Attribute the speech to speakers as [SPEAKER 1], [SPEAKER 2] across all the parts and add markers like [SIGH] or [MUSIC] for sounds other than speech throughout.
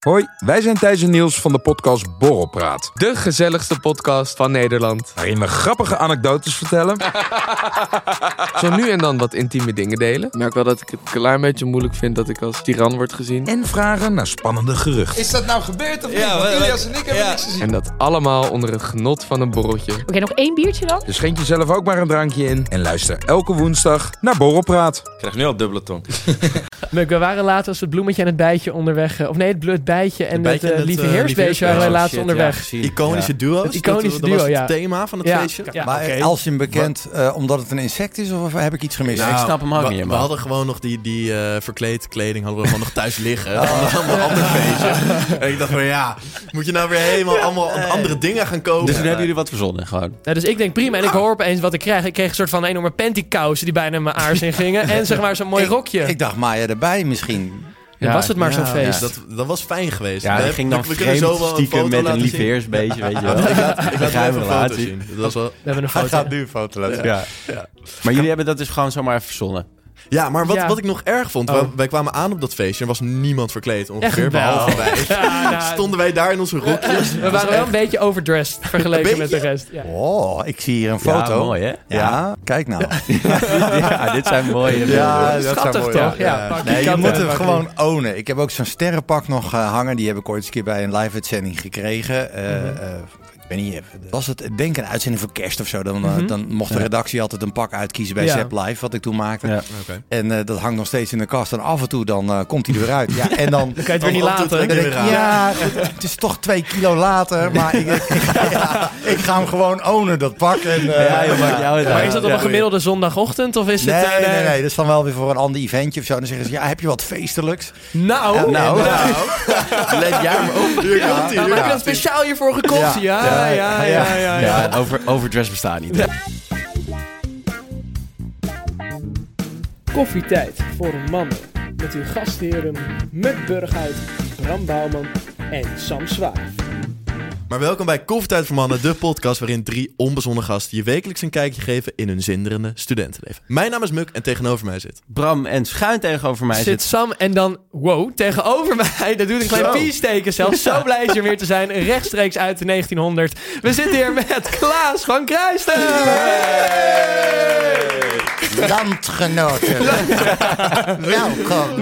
[SPEAKER 1] Hoi, wij zijn Thijs en Niels van de podcast Borrelpraat.
[SPEAKER 2] De gezelligste podcast van Nederland.
[SPEAKER 1] Waarin we grappige anekdotes vertellen.
[SPEAKER 2] Zo nu en dan wat intieme dingen delen. Ik merk wel dat ik het een klein beetje moeilijk vind dat ik als tiran word gezien.
[SPEAKER 1] en vragen naar spannende geruchten.
[SPEAKER 3] Is dat nou gebeurd of niet?
[SPEAKER 4] Ja,
[SPEAKER 3] Want
[SPEAKER 4] wat-
[SPEAKER 3] [LAUGHS] Ilias en ik hebben
[SPEAKER 4] ja.
[SPEAKER 3] niks gezien.
[SPEAKER 2] En dat allemaal onder het genot van een borreltje.
[SPEAKER 5] Oké, nog één biertje dan?
[SPEAKER 1] Dus schenk jezelf ook maar een drankje in. En luister elke woensdag naar Borrelpraat.
[SPEAKER 4] Ik krijg nu al dubbele tong.
[SPEAKER 6] Muk, we waren laatst als het bloemmetje en het bijtje onderweg. eh, Of nee, het, bl- het bijtje en het eh, lieve heersbeestje waren wij laatst
[SPEAKER 7] Oh,
[SPEAKER 6] onderweg.
[SPEAKER 8] Iconische duo's.
[SPEAKER 6] Het
[SPEAKER 8] dat,
[SPEAKER 6] iconische
[SPEAKER 8] dat
[SPEAKER 6] duo,
[SPEAKER 8] was
[SPEAKER 6] ja.
[SPEAKER 8] het thema van het
[SPEAKER 6] Ja,
[SPEAKER 8] feestje.
[SPEAKER 6] ja.
[SPEAKER 7] Maar
[SPEAKER 8] oké.
[SPEAKER 7] als je hem bekend, eh, omdat het een insect is, of, of heb ik iets gemist?
[SPEAKER 8] Nou, we,
[SPEAKER 4] niet,
[SPEAKER 8] We
[SPEAKER 4] man.
[SPEAKER 8] hadden gewoon nog die, die eh, verkleed kleding hadden we gewoon nog thuis liggen. Van een ander
[SPEAKER 6] [LAUGHS]
[SPEAKER 8] feestje. En ik dacht van ja, moet je nou weer helemaal allemaal andere dingen gaan kopen?
[SPEAKER 4] Dus toen hebben jullie wat verzonnen gewoon.
[SPEAKER 6] Nou, dus ik denk prima. En ik hoor opeens wat ik krijg. Ik kreeg een soort van enorme pantycousen die bijna in mijn aars in gingen. En zeg maar zo'n mooi
[SPEAKER 7] Ik-
[SPEAKER 6] rokje.
[SPEAKER 7] Ik dacht Maya erbij misschien.
[SPEAKER 6] Dan was het maar zo'n feest.
[SPEAKER 8] dus dat, dat was fijn geweest.
[SPEAKER 4] Ja,
[SPEAKER 8] We
[SPEAKER 4] dat
[SPEAKER 8] hebben-
[SPEAKER 4] ging dan
[SPEAKER 8] we kunnen
[SPEAKER 4] vreemd
[SPEAKER 8] zo wel een
[SPEAKER 4] stiekem
[SPEAKER 8] foto
[SPEAKER 4] met een
[SPEAKER 8] laten zien.
[SPEAKER 4] lieveheersbeestje,
[SPEAKER 8] [LAUGHS]
[SPEAKER 4] weet je wel.
[SPEAKER 8] Ik laat, ik laat
[SPEAKER 4] [LAUGHS]
[SPEAKER 8] even
[SPEAKER 4] Geheime
[SPEAKER 8] een foto
[SPEAKER 4] relatie.
[SPEAKER 8] zien. Dat was wel,
[SPEAKER 6] We hebben een foto.
[SPEAKER 7] nu een foto laten
[SPEAKER 4] Ja. Maar jullie hebben dat dus gewoon zomaar even verzonnen.
[SPEAKER 8] ja, maar wat,
[SPEAKER 6] Ja.
[SPEAKER 8] wat ik nog erg vond, wij,
[SPEAKER 6] Oh.
[SPEAKER 8] wij kwamen aan op dat feestje en er was niemand verkleed ongeveer,
[SPEAKER 6] Echt wel.
[SPEAKER 8] behalve wij.
[SPEAKER 6] Ja, nou,
[SPEAKER 8] [LAUGHS] Stonden wij daar in onze rokjes.
[SPEAKER 6] we waren wel een beetje overdressed vergeleken
[SPEAKER 8] Een
[SPEAKER 6] met de rest. Ja.
[SPEAKER 7] Oh, ik zie hier een foto.
[SPEAKER 4] Ja, mooi hè?
[SPEAKER 7] Ja, kijk nou.
[SPEAKER 4] [LAUGHS] ja, dit zijn
[SPEAKER 7] [LAUGHS]
[SPEAKER 4] mooie beelden.
[SPEAKER 7] dat zijn
[SPEAKER 6] Schattig
[SPEAKER 7] mooie-
[SPEAKER 6] toch?
[SPEAKER 7] ja.
[SPEAKER 6] Ja, [LAUGHS] pak die
[SPEAKER 7] Nee, je
[SPEAKER 6] kat
[SPEAKER 7] moet
[SPEAKER 6] erin,
[SPEAKER 7] hem
[SPEAKER 6] pak die.
[SPEAKER 7] gewoon ownen. Ik heb ook zo'n sterrenpak nog eh, hangen. Die heb ik ooit eens een keer bij een live-uitzending gekregen. Eh, eh, ik weet niet, eh, was het ik denk een uitzending voor kerst of zo? Dan, eh,
[SPEAKER 6] Mhm.
[SPEAKER 7] dan mocht de redactie altijd een pak uitkiezen bij
[SPEAKER 6] Ja.
[SPEAKER 7] Zep Live, wat ik toen maakte.
[SPEAKER 4] Ja.
[SPEAKER 8] Oké.
[SPEAKER 7] En eh, dat hangt nog steeds in de kast. En af en toe dan eh, komt hij er weer uit. Ja, en dan...
[SPEAKER 6] Dan kan je het weer
[SPEAKER 8] Oh,
[SPEAKER 6] niet
[SPEAKER 8] oh,
[SPEAKER 6] laten.
[SPEAKER 8] dat-
[SPEAKER 7] Dan
[SPEAKER 8] Ik
[SPEAKER 7] denk ik,
[SPEAKER 8] weer
[SPEAKER 7] ja, het het is toch twee kilo later, maar ik, ik, ik, [LAUGHS] ja, ik ga hem gewoon ownen, dat pak. En, eh,
[SPEAKER 4] Ja, joh, maakt jou het
[SPEAKER 6] Maar
[SPEAKER 4] uit.
[SPEAKER 6] is dat op een gemiddelde zondagochtend of is
[SPEAKER 7] Nee,
[SPEAKER 6] het... eh,
[SPEAKER 7] nee, nee, dat is dan wel weer voor een ander eventje of zo. En dan zeggen ze, ja, heb je wat feestelijks?
[SPEAKER 6] Nou,
[SPEAKER 7] En-
[SPEAKER 6] nou.
[SPEAKER 7] en-
[SPEAKER 4] [LAUGHS] Let jij maar op.
[SPEAKER 8] Hier komt hij,
[SPEAKER 6] Maar
[SPEAKER 8] hier
[SPEAKER 6] heb je dat
[SPEAKER 8] komt hij.
[SPEAKER 6] speciaal hiervoor gekocht? Ja, ja, ja, ja. ja,
[SPEAKER 4] Ja, over, overdress bestaat niet.
[SPEAKER 9] Koffietijd voor mannen met uw gastheren Muk Burghuis, Bram Bouwman en Sam Zwaar.
[SPEAKER 8] Maar welkom bij Koffietijd voor Mannen, de podcast waarin drie onbezonnen gasten je wekelijks een kijkje geven in hun zinderende studentenleven. Mijn naam is Muk en tegenover mij zit.
[SPEAKER 4] Bram en schuin tegenover mij
[SPEAKER 6] Zit
[SPEAKER 4] zit...
[SPEAKER 6] Sam en dan, wow, tegenover [LAUGHS] mij. Dat doet een klein
[SPEAKER 4] Zo.
[SPEAKER 6] pie-steken zelfs. Zo blij is er weer te zijn. Rechtstreeks uit de 1900. We zitten hier met Klaas van Kruisten.
[SPEAKER 1] [LAUGHS]
[SPEAKER 7] Landgenoten. Welkom.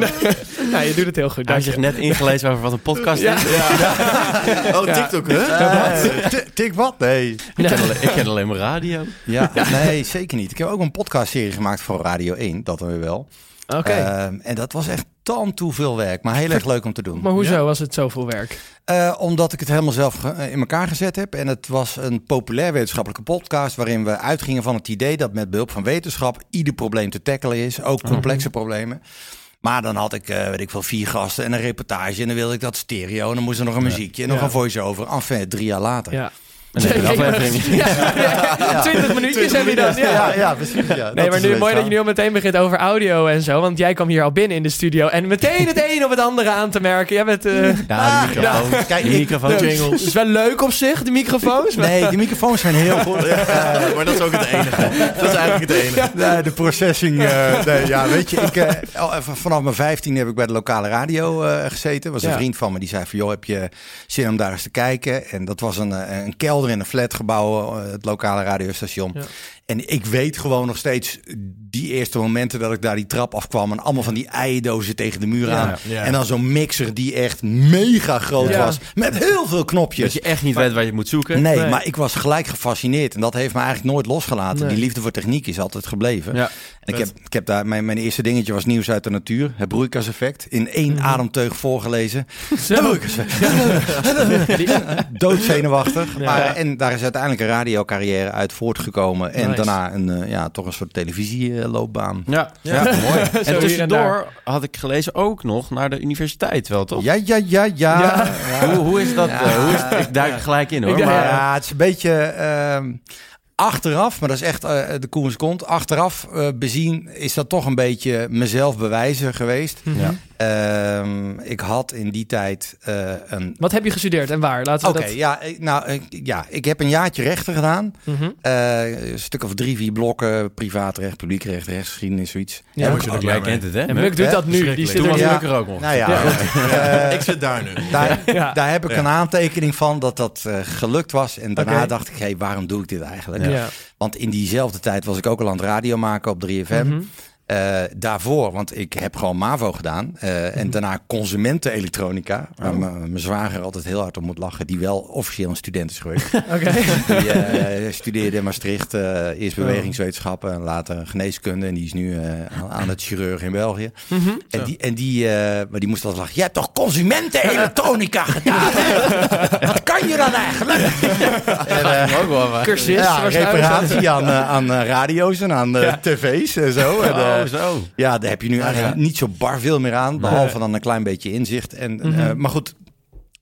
[SPEAKER 6] Nou, je doet het heel goed.
[SPEAKER 4] Hij
[SPEAKER 6] Dank
[SPEAKER 4] had
[SPEAKER 6] je.
[SPEAKER 4] zich net ingelezen over wat een podcast is.
[SPEAKER 8] Oh, TikTok, hè?
[SPEAKER 7] Eh, ti- Tik wat? Nee.
[SPEAKER 4] Ik, ken alleen, ik ken alleen maar radio.
[SPEAKER 7] Ja, nee, zeker niet. Ik heb ook een podcastserie gemaakt voor Radio 1, dat dan weer
[SPEAKER 6] [LAUGHS]
[SPEAKER 7] wel.
[SPEAKER 6] Oké.
[SPEAKER 4] Eh,
[SPEAKER 7] Ehm, en dat was echt tam toe veel werk, maar heel erg leuk om te doen.
[SPEAKER 6] maar hoezo was het zoveel werk?
[SPEAKER 7] Eh, omdat ik het helemaal zelf ge- eh, in elkaar gezet heb. En het was een populair wetenschappelijke podcast. waarin we uitgingen van het idee dat met behulp van wetenschap. ieder probleem te tackelen is. Ook
[SPEAKER 6] Mhm.
[SPEAKER 7] complexe problemen. Maar dan had ik, eh, weet ik veel, vier gasten en een reportage. En dan wilde ik dat stereo. En dan moest er nog een muziekje. En nog
[SPEAKER 6] Ja.
[SPEAKER 7] een voice-over. Enfin, drie jaar later.
[SPEAKER 6] [LAUGHS] Ja.
[SPEAKER 4] En dan heb je een aflevering. [LAUGHS]
[SPEAKER 6] Ja, 20 minuutjes heb je dan. Ja.
[SPEAKER 7] precies. Ja.
[SPEAKER 6] Nee, maar nu, mooi dat je nu al meteen begint over audio en zo. Want jij kwam hier al binnen in de studio. En meteen het een op het andere aan te merken. Jij bent... eh,
[SPEAKER 4] Ja, die microfoon.
[SPEAKER 7] Kijk,
[SPEAKER 4] die
[SPEAKER 7] ik-
[SPEAKER 4] microfoon.
[SPEAKER 6] Het is wel leuk op zich, de microfoons. maar-
[SPEAKER 7] Nee, die microfoons zijn heel goed.
[SPEAKER 8] [LAUGHS] Eh, maar dat is ook het enige. Dat is eigenlijk het enige.
[SPEAKER 7] Nee, de processing. eh, nee, ja, weet je, ik, eh, al- eh, v- vanaf mijn 15 heb ik bij de lokale radio eh, gezeten. was een
[SPEAKER 6] Ja.
[SPEAKER 7] vriend van me die zei van, joh, heb je zin om daar eens te kijken? En dat was een, eh, een kelder in een flatgebouw, eh, het lokale radiostation.
[SPEAKER 6] Ja.
[SPEAKER 7] En ik weet gewoon nog steeds die eerste momenten dat ik daar die trap afkwam en allemaal van die eierdozen tegen de muur
[SPEAKER 6] Ja.
[SPEAKER 7] aan.
[SPEAKER 8] Ja.
[SPEAKER 7] En dan zo'n mixer die echt mega groot
[SPEAKER 6] Ja.
[SPEAKER 7] was, met heel veel knopjes.
[SPEAKER 4] Dat je echt niet weet waar je het moet zoeken.
[SPEAKER 7] Nee,
[SPEAKER 6] Nee.
[SPEAKER 7] maar ik was gelijk gefascineerd. En dat heeft me eigenlijk nooit losgelaten.
[SPEAKER 6] Nee.
[SPEAKER 7] Die liefde voor techniek is altijd gebleven.
[SPEAKER 4] Ja.
[SPEAKER 7] En ik heb, ik heb daar, mijn, mijn eerste dingetje was nieuws uit de natuur. Het broeikaseffect. In één ademteug voorgelezen. Het broeikaseffect. Doodzenuwachtig.
[SPEAKER 6] Ja.
[SPEAKER 7] Maar, eh, en daar is uiteindelijk een radiocarrière uit voortgekomen. En
[SPEAKER 6] Nice.
[SPEAKER 7] daarna een, eh, ja, toch een soort televisieloopbaan.
[SPEAKER 4] Ja.
[SPEAKER 7] Ja,
[SPEAKER 4] [LAUGHS]
[SPEAKER 7] mooi.
[SPEAKER 6] Zo hier
[SPEAKER 4] En
[SPEAKER 6] en
[SPEAKER 4] tussendoor
[SPEAKER 6] daar.
[SPEAKER 4] had ik gelezen ook nog naar de universiteit wel, toch?
[SPEAKER 7] Ja, ja, ja, ja.
[SPEAKER 6] Ja.
[SPEAKER 4] Hoe, hoe is dat? eh, hoe is het? Ik duik er gelijk in hoor.
[SPEAKER 6] Ik-
[SPEAKER 4] Maar,
[SPEAKER 7] Ja, het is een beetje ehm, achteraf, maar dat is echt eh, de koers komt. Achteraf eh, bezien is dat toch een beetje mezelf bewijzen geweest.
[SPEAKER 4] Ja.
[SPEAKER 7] Ehm, ik had in die tijd eh, een...
[SPEAKER 6] Wat heb je gestudeerd en waar? Laten we
[SPEAKER 7] Oké,
[SPEAKER 6] dat...
[SPEAKER 7] ja, ik- nou, ik- ja, ik heb een jaartje rechten gedaan.
[SPEAKER 6] Mhm.
[SPEAKER 7] Eh, een stuk of drie, vier blokken. Privaatrecht, publiekrecht, rechtsgeschiedenis, zoiets.
[SPEAKER 6] Ja.
[SPEAKER 7] Heb ik
[SPEAKER 8] Oh,
[SPEAKER 7] ook-
[SPEAKER 4] Jij
[SPEAKER 8] jij
[SPEAKER 4] kent
[SPEAKER 8] kent
[SPEAKER 4] het, hè?
[SPEAKER 6] En Muk doet
[SPEAKER 7] hè?
[SPEAKER 6] dat nu. Die zit
[SPEAKER 4] Toen
[SPEAKER 6] er
[SPEAKER 4] was
[SPEAKER 6] nu.
[SPEAKER 7] Ja.
[SPEAKER 4] Muk er ook nog.
[SPEAKER 7] Nou ja,
[SPEAKER 4] [LAUGHS]
[SPEAKER 8] Ja,
[SPEAKER 7] eh,
[SPEAKER 8] ik zit daar nu.
[SPEAKER 7] daar,
[SPEAKER 6] Ja.
[SPEAKER 7] daar heb ik
[SPEAKER 8] Ja.
[SPEAKER 7] een aantekening van dat dat eh, gelukt was. En daarna
[SPEAKER 6] Oké.
[SPEAKER 7] dacht ik, hé, waarom doe ik dit eigenlijk?
[SPEAKER 6] Ja.
[SPEAKER 7] Want in diezelfde tijd was ik ook al aan het radio maken op 3FM.
[SPEAKER 6] Mhm.
[SPEAKER 7] Eh, daarvoor, want ik heb gewoon MAVO gedaan. eh, En daarna consumentenelektronica. Waar m- mijn zwager altijd heel hard om moet lachen. Die wel officieel een student is geweest.
[SPEAKER 6] Oké.
[SPEAKER 7] Die eh, studeerde in Maastricht. eh, eerst bewegingswetenschappen en later geneeskunde. En die is nu eh, aan- aan het chirurg in België.
[SPEAKER 6] Mhm.
[SPEAKER 7] En die, en die, eh, maar die moest altijd lachen. Jij hebt toch consumentenelektronica gedaan? hè? Wat kan je dan eigenlijk? En, eh,
[SPEAKER 4] Ook wel waar.
[SPEAKER 6] Cursus.
[SPEAKER 7] ja,
[SPEAKER 6] waarschijnlijk.
[SPEAKER 7] reparatie aan, eh, aan eh, radio's en aan eh, tv's en zo. En, eh,
[SPEAKER 4] Oh, zo.
[SPEAKER 7] ja, daar heb je nu eigenlijk niet zo bar veel meer aan. Behalve dan een klein beetje inzicht. En, eh, maar goed,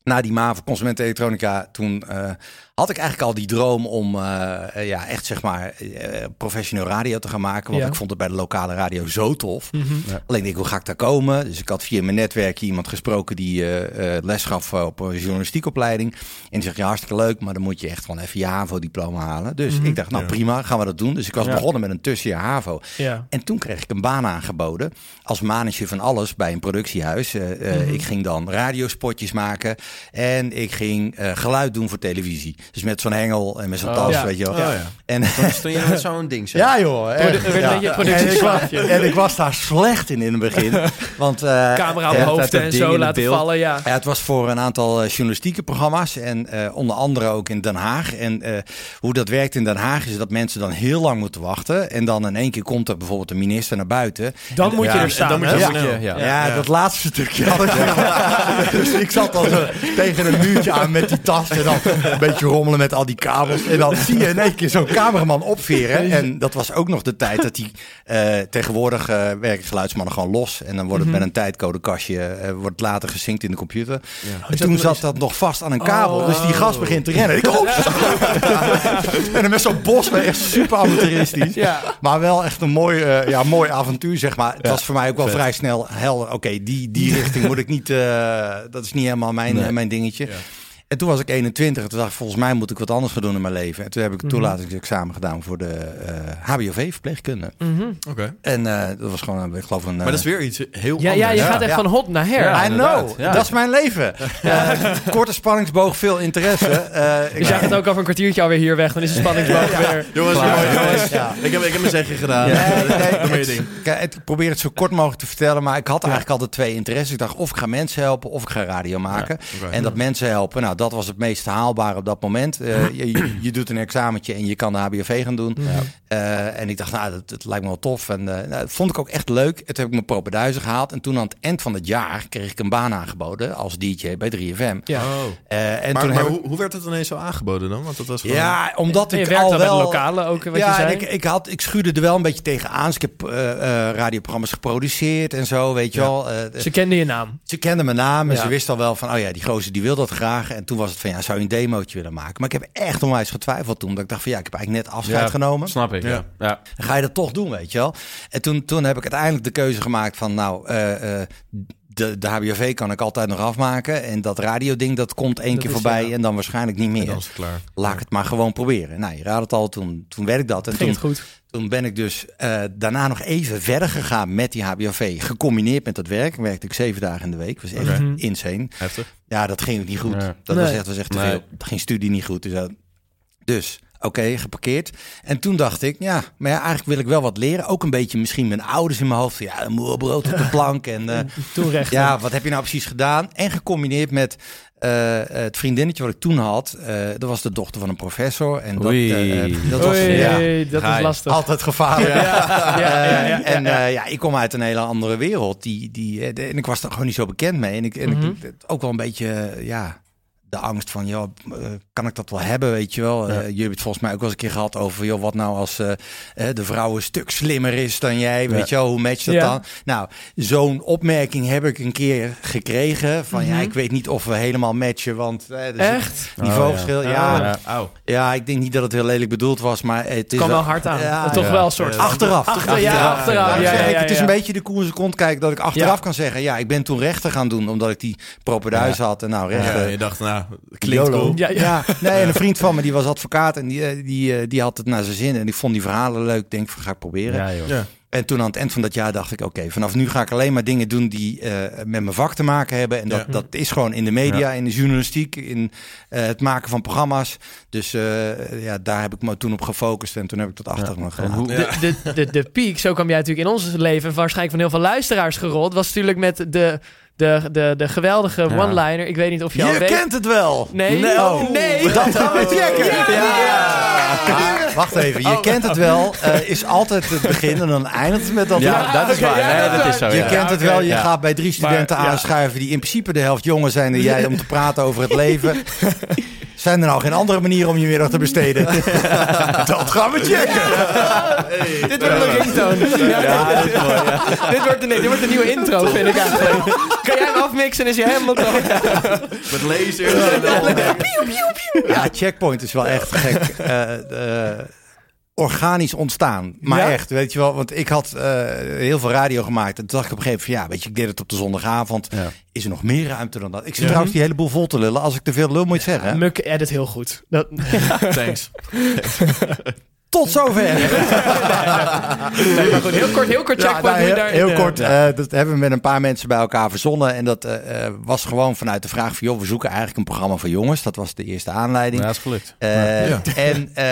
[SPEAKER 7] na die MAVO Consumentenelektronica... toen eh, had ik eigenlijk al die droom om eh, eh, ja, echt zeg maar eh, professioneel radio te gaan maken. Want
[SPEAKER 6] Ja.
[SPEAKER 7] ik vond het bij de lokale radio zo tof.
[SPEAKER 6] Mhm.
[SPEAKER 7] Alleen denk ik, hoe ga ik daar komen? Dus ik had via mijn netwerk hier iemand gesproken die eh, eh, les gaf op een journalistiekopleiding. En die zegt, ja, hartstikke leuk, maar dan moet je echt gewoon even je HAVO-diploma halen. Dus ik dacht, nou
[SPEAKER 8] Ja.
[SPEAKER 7] prima, gaan we dat doen. Dus ik was
[SPEAKER 6] Mhm. Ja.
[SPEAKER 7] begonnen met een tussenjaar HAVO.
[SPEAKER 6] Ja.
[SPEAKER 7] En toen kreeg ik een baan aangeboden als manager van alles bij een productiehuis. Eh, eh, Ik ging dan radiospotjes maken en ik ging eh, geluid doen voor televisie. Dus met zo'n hengel en met zo'n
[SPEAKER 6] Oh.
[SPEAKER 7] tas,
[SPEAKER 6] Ja.
[SPEAKER 7] weet je wel.
[SPEAKER 8] Oh, ja.
[SPEAKER 7] En, [LAUGHS]
[SPEAKER 4] Toen je met zo'n ding zat.
[SPEAKER 7] ja joh,
[SPEAKER 6] Produ-
[SPEAKER 7] echt,
[SPEAKER 6] een
[SPEAKER 7] ja.
[SPEAKER 6] beetje
[SPEAKER 7] En ik, was,
[SPEAKER 6] productieslaafje.
[SPEAKER 7] en ik was daar slecht in in het
[SPEAKER 6] [LAUGHS]
[SPEAKER 7] begin. Want, eh,
[SPEAKER 6] Camera op
[SPEAKER 7] eh,
[SPEAKER 6] hoofd
[SPEAKER 4] dat
[SPEAKER 6] en
[SPEAKER 4] ding in
[SPEAKER 6] zo
[SPEAKER 4] het
[SPEAKER 6] laten
[SPEAKER 4] beeld.
[SPEAKER 6] vallen. Ja.
[SPEAKER 7] ja, het was voor een aantal eh, journalistieke programma's en eh, onder andere ook in Den Haag. En eh, hoe dat werkt in Den Haag is dat mensen dan heel lang moeten wachten. En dan in één keer komt er bijvoorbeeld een minister naar buiten.
[SPEAKER 6] Dan moet je
[SPEAKER 4] Ja,
[SPEAKER 6] er
[SPEAKER 4] en
[SPEAKER 6] staan.
[SPEAKER 8] dan moet
[SPEAKER 6] hè?
[SPEAKER 8] je
[SPEAKER 7] Ja.
[SPEAKER 8] snel.
[SPEAKER 4] Ja.
[SPEAKER 7] Ja, dat laatste stukje had ik wel. Dus ik zat dan zo tegen een muurtje aan met die tas en dan een beetje rommelen met al die kabels. En dan zie je in één keer zo'n cameraman opveren. En dat was ook nog de tijd dat die eh, tegenwoordig eh, werken geluidsmannen gewoon los. En dan wordt het met een tijdcodekastje, eh, wordt later gezinkt in de computer. En toen zat dat nog vast aan een kabel. Dus die gast begint te rennen. Ik hoop En dan met zo'n bos, maar echt super amateuristisch.
[SPEAKER 6] Ja.
[SPEAKER 7] Maar wel echt een mooi, eh, ja, mooi avontuur, zeg maar. Het was voor mij ook wel vrij snel helder. Oké, die, die richting moet ik niet... eh, dat is niet helemaal mijn, eh, mijn dingetje. En toen was ik 21. Toen dacht ik, volgens mij moet ik wat anders gaan doen in mijn leven. En toen heb ik het toelatingsexamen gedaan voor de eh, HBOV-verpleegkunde.
[SPEAKER 6] Mhm.
[SPEAKER 8] Oké.
[SPEAKER 7] En eh, dat was gewoon, eh, ik geloof een... eh,
[SPEAKER 8] Maar dat is weer iets heel
[SPEAKER 6] Ja, ja,
[SPEAKER 8] anders.
[SPEAKER 6] je gaat echt
[SPEAKER 7] Ja.
[SPEAKER 6] van hot naar her.
[SPEAKER 7] I know,
[SPEAKER 4] ja.
[SPEAKER 7] dat is mijn
[SPEAKER 4] [LAUGHS]
[SPEAKER 7] leven. Eh, korte spanningsboog, veel interesse. Eh, ik-
[SPEAKER 6] Dus jij gaat ook over een kwartiertje alweer hier weg. Dan is de spanningsboog weer...
[SPEAKER 8] Jongens, jongens, jongens.
[SPEAKER 7] Ja.
[SPEAKER 8] Ik, heb, ik heb mijn zeggen gedaan.
[SPEAKER 7] Nee, nee,
[SPEAKER 8] Doe maar je
[SPEAKER 7] het-
[SPEAKER 8] ding.
[SPEAKER 7] Kijk, het- ik probeer het zo kort mogelijk te vertellen, maar ik had eigenlijk altijd twee interesses. Ik dacht, of ik ga mensen helpen, of ik ga radio maken.
[SPEAKER 8] oké.
[SPEAKER 7] En dat mensen helpen, nou, dat was het meest haalbare op dat moment. Eh, je- je, je doet een examentje en je kan de HBOV gaan doen. Eh, en ik dacht, nou, dat, dat lijkt me wel tof. En eh, nou, dat vond ik ook echt leuk. En Toen heb ik mijn propenduizen gehaald. En toen aan het eind van het jaar kreeg ik een baan aangeboden als DJ bij 3FM.
[SPEAKER 6] Ja.
[SPEAKER 7] Eh, en
[SPEAKER 8] Maar,
[SPEAKER 7] toen
[SPEAKER 8] maar
[SPEAKER 7] heb ik-
[SPEAKER 8] hoe, hoe werd het ineens zo aangeboden dan? Want dat was gewoon...
[SPEAKER 7] ja, omdat
[SPEAKER 6] En je
[SPEAKER 7] ik
[SPEAKER 6] werkt
[SPEAKER 7] al
[SPEAKER 6] al met
[SPEAKER 7] wel...
[SPEAKER 6] lokale ook, wat
[SPEAKER 7] ja,
[SPEAKER 6] je zei.
[SPEAKER 7] en ik, ik, had, ik schuurde er wel een beetje tegen aan. Dus ik heb eh, eh, radioprogramma's geproduceerd en zo, weet je wel. Eh,
[SPEAKER 6] Ze kenden je naam.
[SPEAKER 7] ze kenden mijn naam en
[SPEAKER 6] Ja.
[SPEAKER 7] ze wisten al wel van, oh ja, die gozer die wil dat graag. En toen was het van, ja, zou je een demootje willen maken? Maar ik heb echt onwijs getwijfeld toen. Dat ik dacht van, ja, ik heb eigenlijk net afscheid
[SPEAKER 4] Ja.
[SPEAKER 7] genomen.
[SPEAKER 4] Snap ik, ja. ja.
[SPEAKER 7] Dan ga je dat toch doen, weet je wel. En toen, toen heb ik uiteindelijk de keuze gemaakt van, nou, eh, eh, de, de HBOV kan ik altijd nog afmaken. En dat radioding, dat komt één
[SPEAKER 6] Dat
[SPEAKER 7] keer
[SPEAKER 6] is,
[SPEAKER 7] voorbij
[SPEAKER 6] ja.
[SPEAKER 7] en dan waarschijnlijk niet
[SPEAKER 8] En
[SPEAKER 7] meer.
[SPEAKER 8] dan is het klaar.
[SPEAKER 7] Laat ik het maar gewoon proberen. Nou, je raadt het al, toen, toen werd ik dat. En
[SPEAKER 6] Ging
[SPEAKER 7] toen,
[SPEAKER 6] het goed.
[SPEAKER 7] toen ben ik dus eh, daarna nog even verder gegaan met die HBOV. Gecombineerd met dat werk. Werkte ik zeven dagen in de week. Was echt
[SPEAKER 6] Oké.
[SPEAKER 7] insane.
[SPEAKER 8] Heftig.
[SPEAKER 7] Ja, dat ging ook niet goed.
[SPEAKER 4] Nee.
[SPEAKER 7] Dat was
[SPEAKER 6] Nee.
[SPEAKER 7] echt, was echt te
[SPEAKER 4] Nee.
[SPEAKER 7] veel. Dat ging studie niet goed. Dus, dat- dus oké, geparkeerd. En toen dacht ik, ja, maar ja, eigenlijk wil ik wel wat leren. Ook een beetje misschien mijn ouders in mijn hoofd. Ja, een moe brood
[SPEAKER 6] [LAUGHS]
[SPEAKER 7] op de plank. En eh,
[SPEAKER 6] Toen recht.
[SPEAKER 7] ja, wat heb je nou precies gedaan? En gecombineerd met eh, het vriendinnetje wat ik toen had. eh, dat was de dochter van een professor. En dat,
[SPEAKER 4] Oei.
[SPEAKER 7] eh, eh, dat was,
[SPEAKER 6] Oei,
[SPEAKER 7] ja,
[SPEAKER 6] dat
[SPEAKER 4] Ga
[SPEAKER 6] is
[SPEAKER 4] je.
[SPEAKER 6] lastig.
[SPEAKER 7] altijd gevaarlijk.
[SPEAKER 6] Ja, ja, ja, ja.
[SPEAKER 7] En eh, ja, ik kom uit een hele andere wereld. Die, die, eh, de- en ik was daar gewoon niet zo bekend mee. En ik, en ik-
[SPEAKER 6] Mhm.
[SPEAKER 7] het- ook wel een beetje, eh, ja, de angst van, joh, eh, kan ik dat wel hebben, weet je wel. Eh, jullie hebben het volgens mij ook wel eens een keer gehad over, joh, wat nou als eh, eh, de vrouw een stuk slimmer is dan jij, weet je wel, hoe match dat
[SPEAKER 6] Ja.
[SPEAKER 7] dan? Nou, zo'n opmerking heb ik een keer gekregen van, ja, ik weet niet of we helemaal matchen, want eh, er zit
[SPEAKER 6] Mhm. Echt? Oh,
[SPEAKER 7] niveauverschil. ja. Ja.
[SPEAKER 4] Ja. Au.
[SPEAKER 7] ik denk niet dat het heel lelijk bedoeld was, maar het is
[SPEAKER 6] Kwam wel
[SPEAKER 7] wel-
[SPEAKER 6] hard aan.
[SPEAKER 7] Ja.
[SPEAKER 6] Toch wel een soort
[SPEAKER 7] Achteraf. Achteraf.
[SPEAKER 6] Achter- ja, achteraf.
[SPEAKER 7] Nou,
[SPEAKER 6] Ja,
[SPEAKER 7] zeg
[SPEAKER 6] ja,
[SPEAKER 7] ik,
[SPEAKER 6] ja,
[SPEAKER 7] het is
[SPEAKER 6] ja.
[SPEAKER 7] een beetje de koers kont kijken dat ik achteraf kan zeggen, ja, ik ben toen rechten gaan doen omdat ik die propeduis had en nou
[SPEAKER 8] Ja,
[SPEAKER 7] rechten.
[SPEAKER 8] je dacht, nou, klinkt
[SPEAKER 7] YOLO.
[SPEAKER 8] cool.
[SPEAKER 6] Ja,
[SPEAKER 7] Ja,
[SPEAKER 6] ja.
[SPEAKER 7] nee, en een vriend van me die was advocaat en die, eh, die, eh, die had het naar zijn zin en die vond die verhalen leuk. Ik Denk van ga ik proberen.
[SPEAKER 4] Ja, joh.
[SPEAKER 8] Ja.
[SPEAKER 7] En toen aan het eind van dat jaar dacht ik, oké, vanaf nu ga ik alleen maar dingen doen die eh, met mijn vak te maken hebben. En dat,
[SPEAKER 8] Ja.
[SPEAKER 7] dat is gewoon in de media, in de journalistiek, in eh, het maken van programma's. Dus eh, ja, daar heb ik me toen op gefocust en toen heb ik dat achter me gelaten.
[SPEAKER 6] De, de, de, de piek, zo kwam jij natuurlijk in ons leven en waarschijnlijk van heel veel luisteraars gerold, was natuurlijk met de, de, de, de geweldige one-liner. Ik weet niet of je, al
[SPEAKER 7] Je
[SPEAKER 6] weet.
[SPEAKER 7] kent het wel!
[SPEAKER 6] Nee,
[SPEAKER 7] Oh.
[SPEAKER 6] nee.
[SPEAKER 7] Dat gaan we checken.
[SPEAKER 6] Ja.
[SPEAKER 7] Maar Wacht even, je kent het wel. eh, is altijd het begin en dan eindigt het met dat.
[SPEAKER 4] Ja, dat is
[SPEAKER 6] oké,
[SPEAKER 4] waar.
[SPEAKER 6] ja,
[SPEAKER 4] nee,
[SPEAKER 6] dat
[SPEAKER 4] dat is zo.
[SPEAKER 7] Je
[SPEAKER 4] ja.
[SPEAKER 7] kent het wel, je
[SPEAKER 4] Ja.
[SPEAKER 7] gaat bij drie studenten
[SPEAKER 6] Maar, ja.
[SPEAKER 7] aanschuiven die in principe de helft jonger zijn dan jij om te praten over het leven. Zijn er nou geen andere manieren om je middag te besteden? Dat gaan we checken.
[SPEAKER 6] Dit wordt een ringtone. Ja, dit, dit wordt een, dit wordt een nieuwe intro, vind ik eigenlijk. Kan jij hem afmixen, is je helemaal klaar.
[SPEAKER 8] Met
[SPEAKER 7] [LAUGHS]
[SPEAKER 8] laser.
[SPEAKER 7] Ja, checkpoint is wel
[SPEAKER 6] [LAUGHS]
[SPEAKER 7] echt gek. eh, eh, organisch ontstaan. Maar
[SPEAKER 6] Ja?
[SPEAKER 7] echt, weet je wel. Want ik had eh, heel veel radio gemaakt. En toen dacht ik op een gegeven moment van... Ja, weet je, ik deed het op de zondagavond. Is er nog meer ruimte dan dat? Ik zit trouwens die hele boel vol te lullen. Als ik te veel lul moet ik zeggen.
[SPEAKER 6] Muk edit heel goed. Dat,
[SPEAKER 8] Thanks.
[SPEAKER 7] Tot [LAUGHS] zover.
[SPEAKER 6] nee, maar goed, heel kort, heel kort
[SPEAKER 7] Ja,
[SPEAKER 6] nou, checkpoint.
[SPEAKER 7] nou,
[SPEAKER 6] hoe je
[SPEAKER 7] heel,
[SPEAKER 6] daar-
[SPEAKER 7] heel
[SPEAKER 6] eh,
[SPEAKER 7] kort. eh, dat hebben we met een paar mensen bij elkaar verzonnen. En dat eh, eh, was gewoon vanuit de vraag van... joh, we zoeken eigenlijk een programma voor jongens. Dat was de eerste aanleiding.
[SPEAKER 4] Ja, is gelukt.
[SPEAKER 7] Eh, En eh,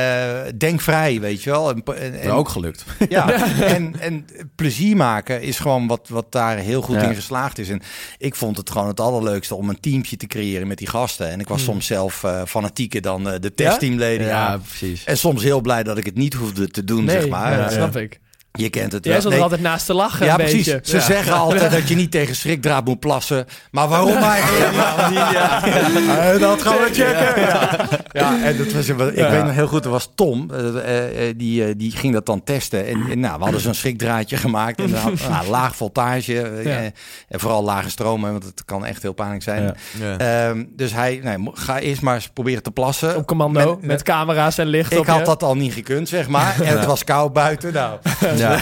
[SPEAKER 7] denk vrij, weet je wel. En, en,
[SPEAKER 4] Maar ook gelukt.
[SPEAKER 7] ja, [LAUGHS] en, en plezier maken is gewoon wat, wat daar heel goed
[SPEAKER 4] Ja.
[SPEAKER 7] in geslaagd is. En ik vond het gewoon het allerleukste om een teamje te creëren met die gasten. En ik was
[SPEAKER 6] Hmm.
[SPEAKER 7] soms zelf eh, fanatieker dan eh, de testteamleden. Ja?
[SPEAKER 4] Ja, precies.
[SPEAKER 7] En soms heel blij dat ik het niet hoefde te doen,
[SPEAKER 6] Nee,
[SPEAKER 7] zeg maar.
[SPEAKER 6] ja, dat
[SPEAKER 7] Eh,
[SPEAKER 6] snap ik.
[SPEAKER 7] Je kent het
[SPEAKER 6] Jij
[SPEAKER 7] wel.
[SPEAKER 6] stond
[SPEAKER 7] Nee,
[SPEAKER 6] er altijd naast te lachen
[SPEAKER 7] ja,
[SPEAKER 6] een
[SPEAKER 7] precies.
[SPEAKER 6] beetje.
[SPEAKER 7] Ze zeggen altijd dat je niet tegen schrikdraad moet plassen. Maar waarom eigenlijk? Eh, dat gaan we checken. Ja, Ja, en dat was, ik weet nog heel goed, er was Tom. eh, eh, die, eh, die ging dat dan testen. En, en nou, we hadden zo'n schrikdraadje gemaakt. En dan, [LAUGHS] nou, laag voltage. eh,
[SPEAKER 6] Ja.
[SPEAKER 7] eh, en vooral lage stromen, want het kan echt heel pijnlijk zijn.
[SPEAKER 4] Ja.
[SPEAKER 8] Ja.
[SPEAKER 7] Ehm, dus hij, nee, mo- ga eerst maar eens proberen te plassen.
[SPEAKER 6] Op commando, met, camera's en licht op
[SPEAKER 7] ik
[SPEAKER 6] je.
[SPEAKER 7] had dat al niet gekund, zeg maar. En het was koud buiten. Nou,
[SPEAKER 4] Ja.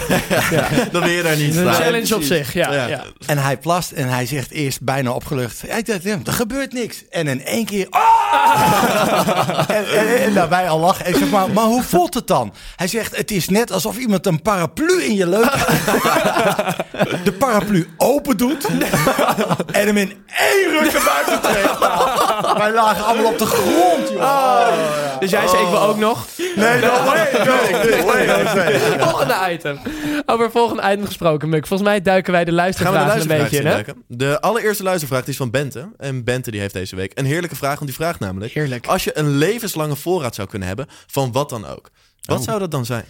[SPEAKER 8] Dan wil je daar niet
[SPEAKER 6] Een
[SPEAKER 8] staan.
[SPEAKER 6] challenge op zich, ja. ja.
[SPEAKER 8] Ja.
[SPEAKER 7] En hij plast en hij zegt eerst bijna opgelucht. Ja, ik dacht, ja, er gebeurt niks. En in één keer. "Ah!" en, en, en daarbij al lachen. En ik zeg maar, maar hoe voelt het dan? Hij zegt: Het is net alsof iemand een paraplu in je leuke. [LAUGHS] de paraplu open doet. en hem in één ruk naar buiten trekt. Nou, wij lagen allemaal op de grond, joh.
[SPEAKER 6] Dus jij zei, ik wil ook nog.
[SPEAKER 7] Oh. Nee, no
[SPEAKER 6] [LAUGHS]
[SPEAKER 7] way, no way, no way.
[SPEAKER 6] Volgende item. Over volgende item gesproken, Muk. Volgens mij duiken wij de
[SPEAKER 8] Gaan we de
[SPEAKER 6] luistervragen een
[SPEAKER 8] luistervraag
[SPEAKER 6] beetje in, hè?
[SPEAKER 8] induiken? De allereerste luistervraag die is van Bente. En Bente die heeft deze week een heerlijke vraag. Want die vraagt namelijk...
[SPEAKER 6] Heerlijk.
[SPEAKER 8] Als je een levenslange voorraad zou kunnen hebben, van wat dan ook. Wat zou dat dan zijn?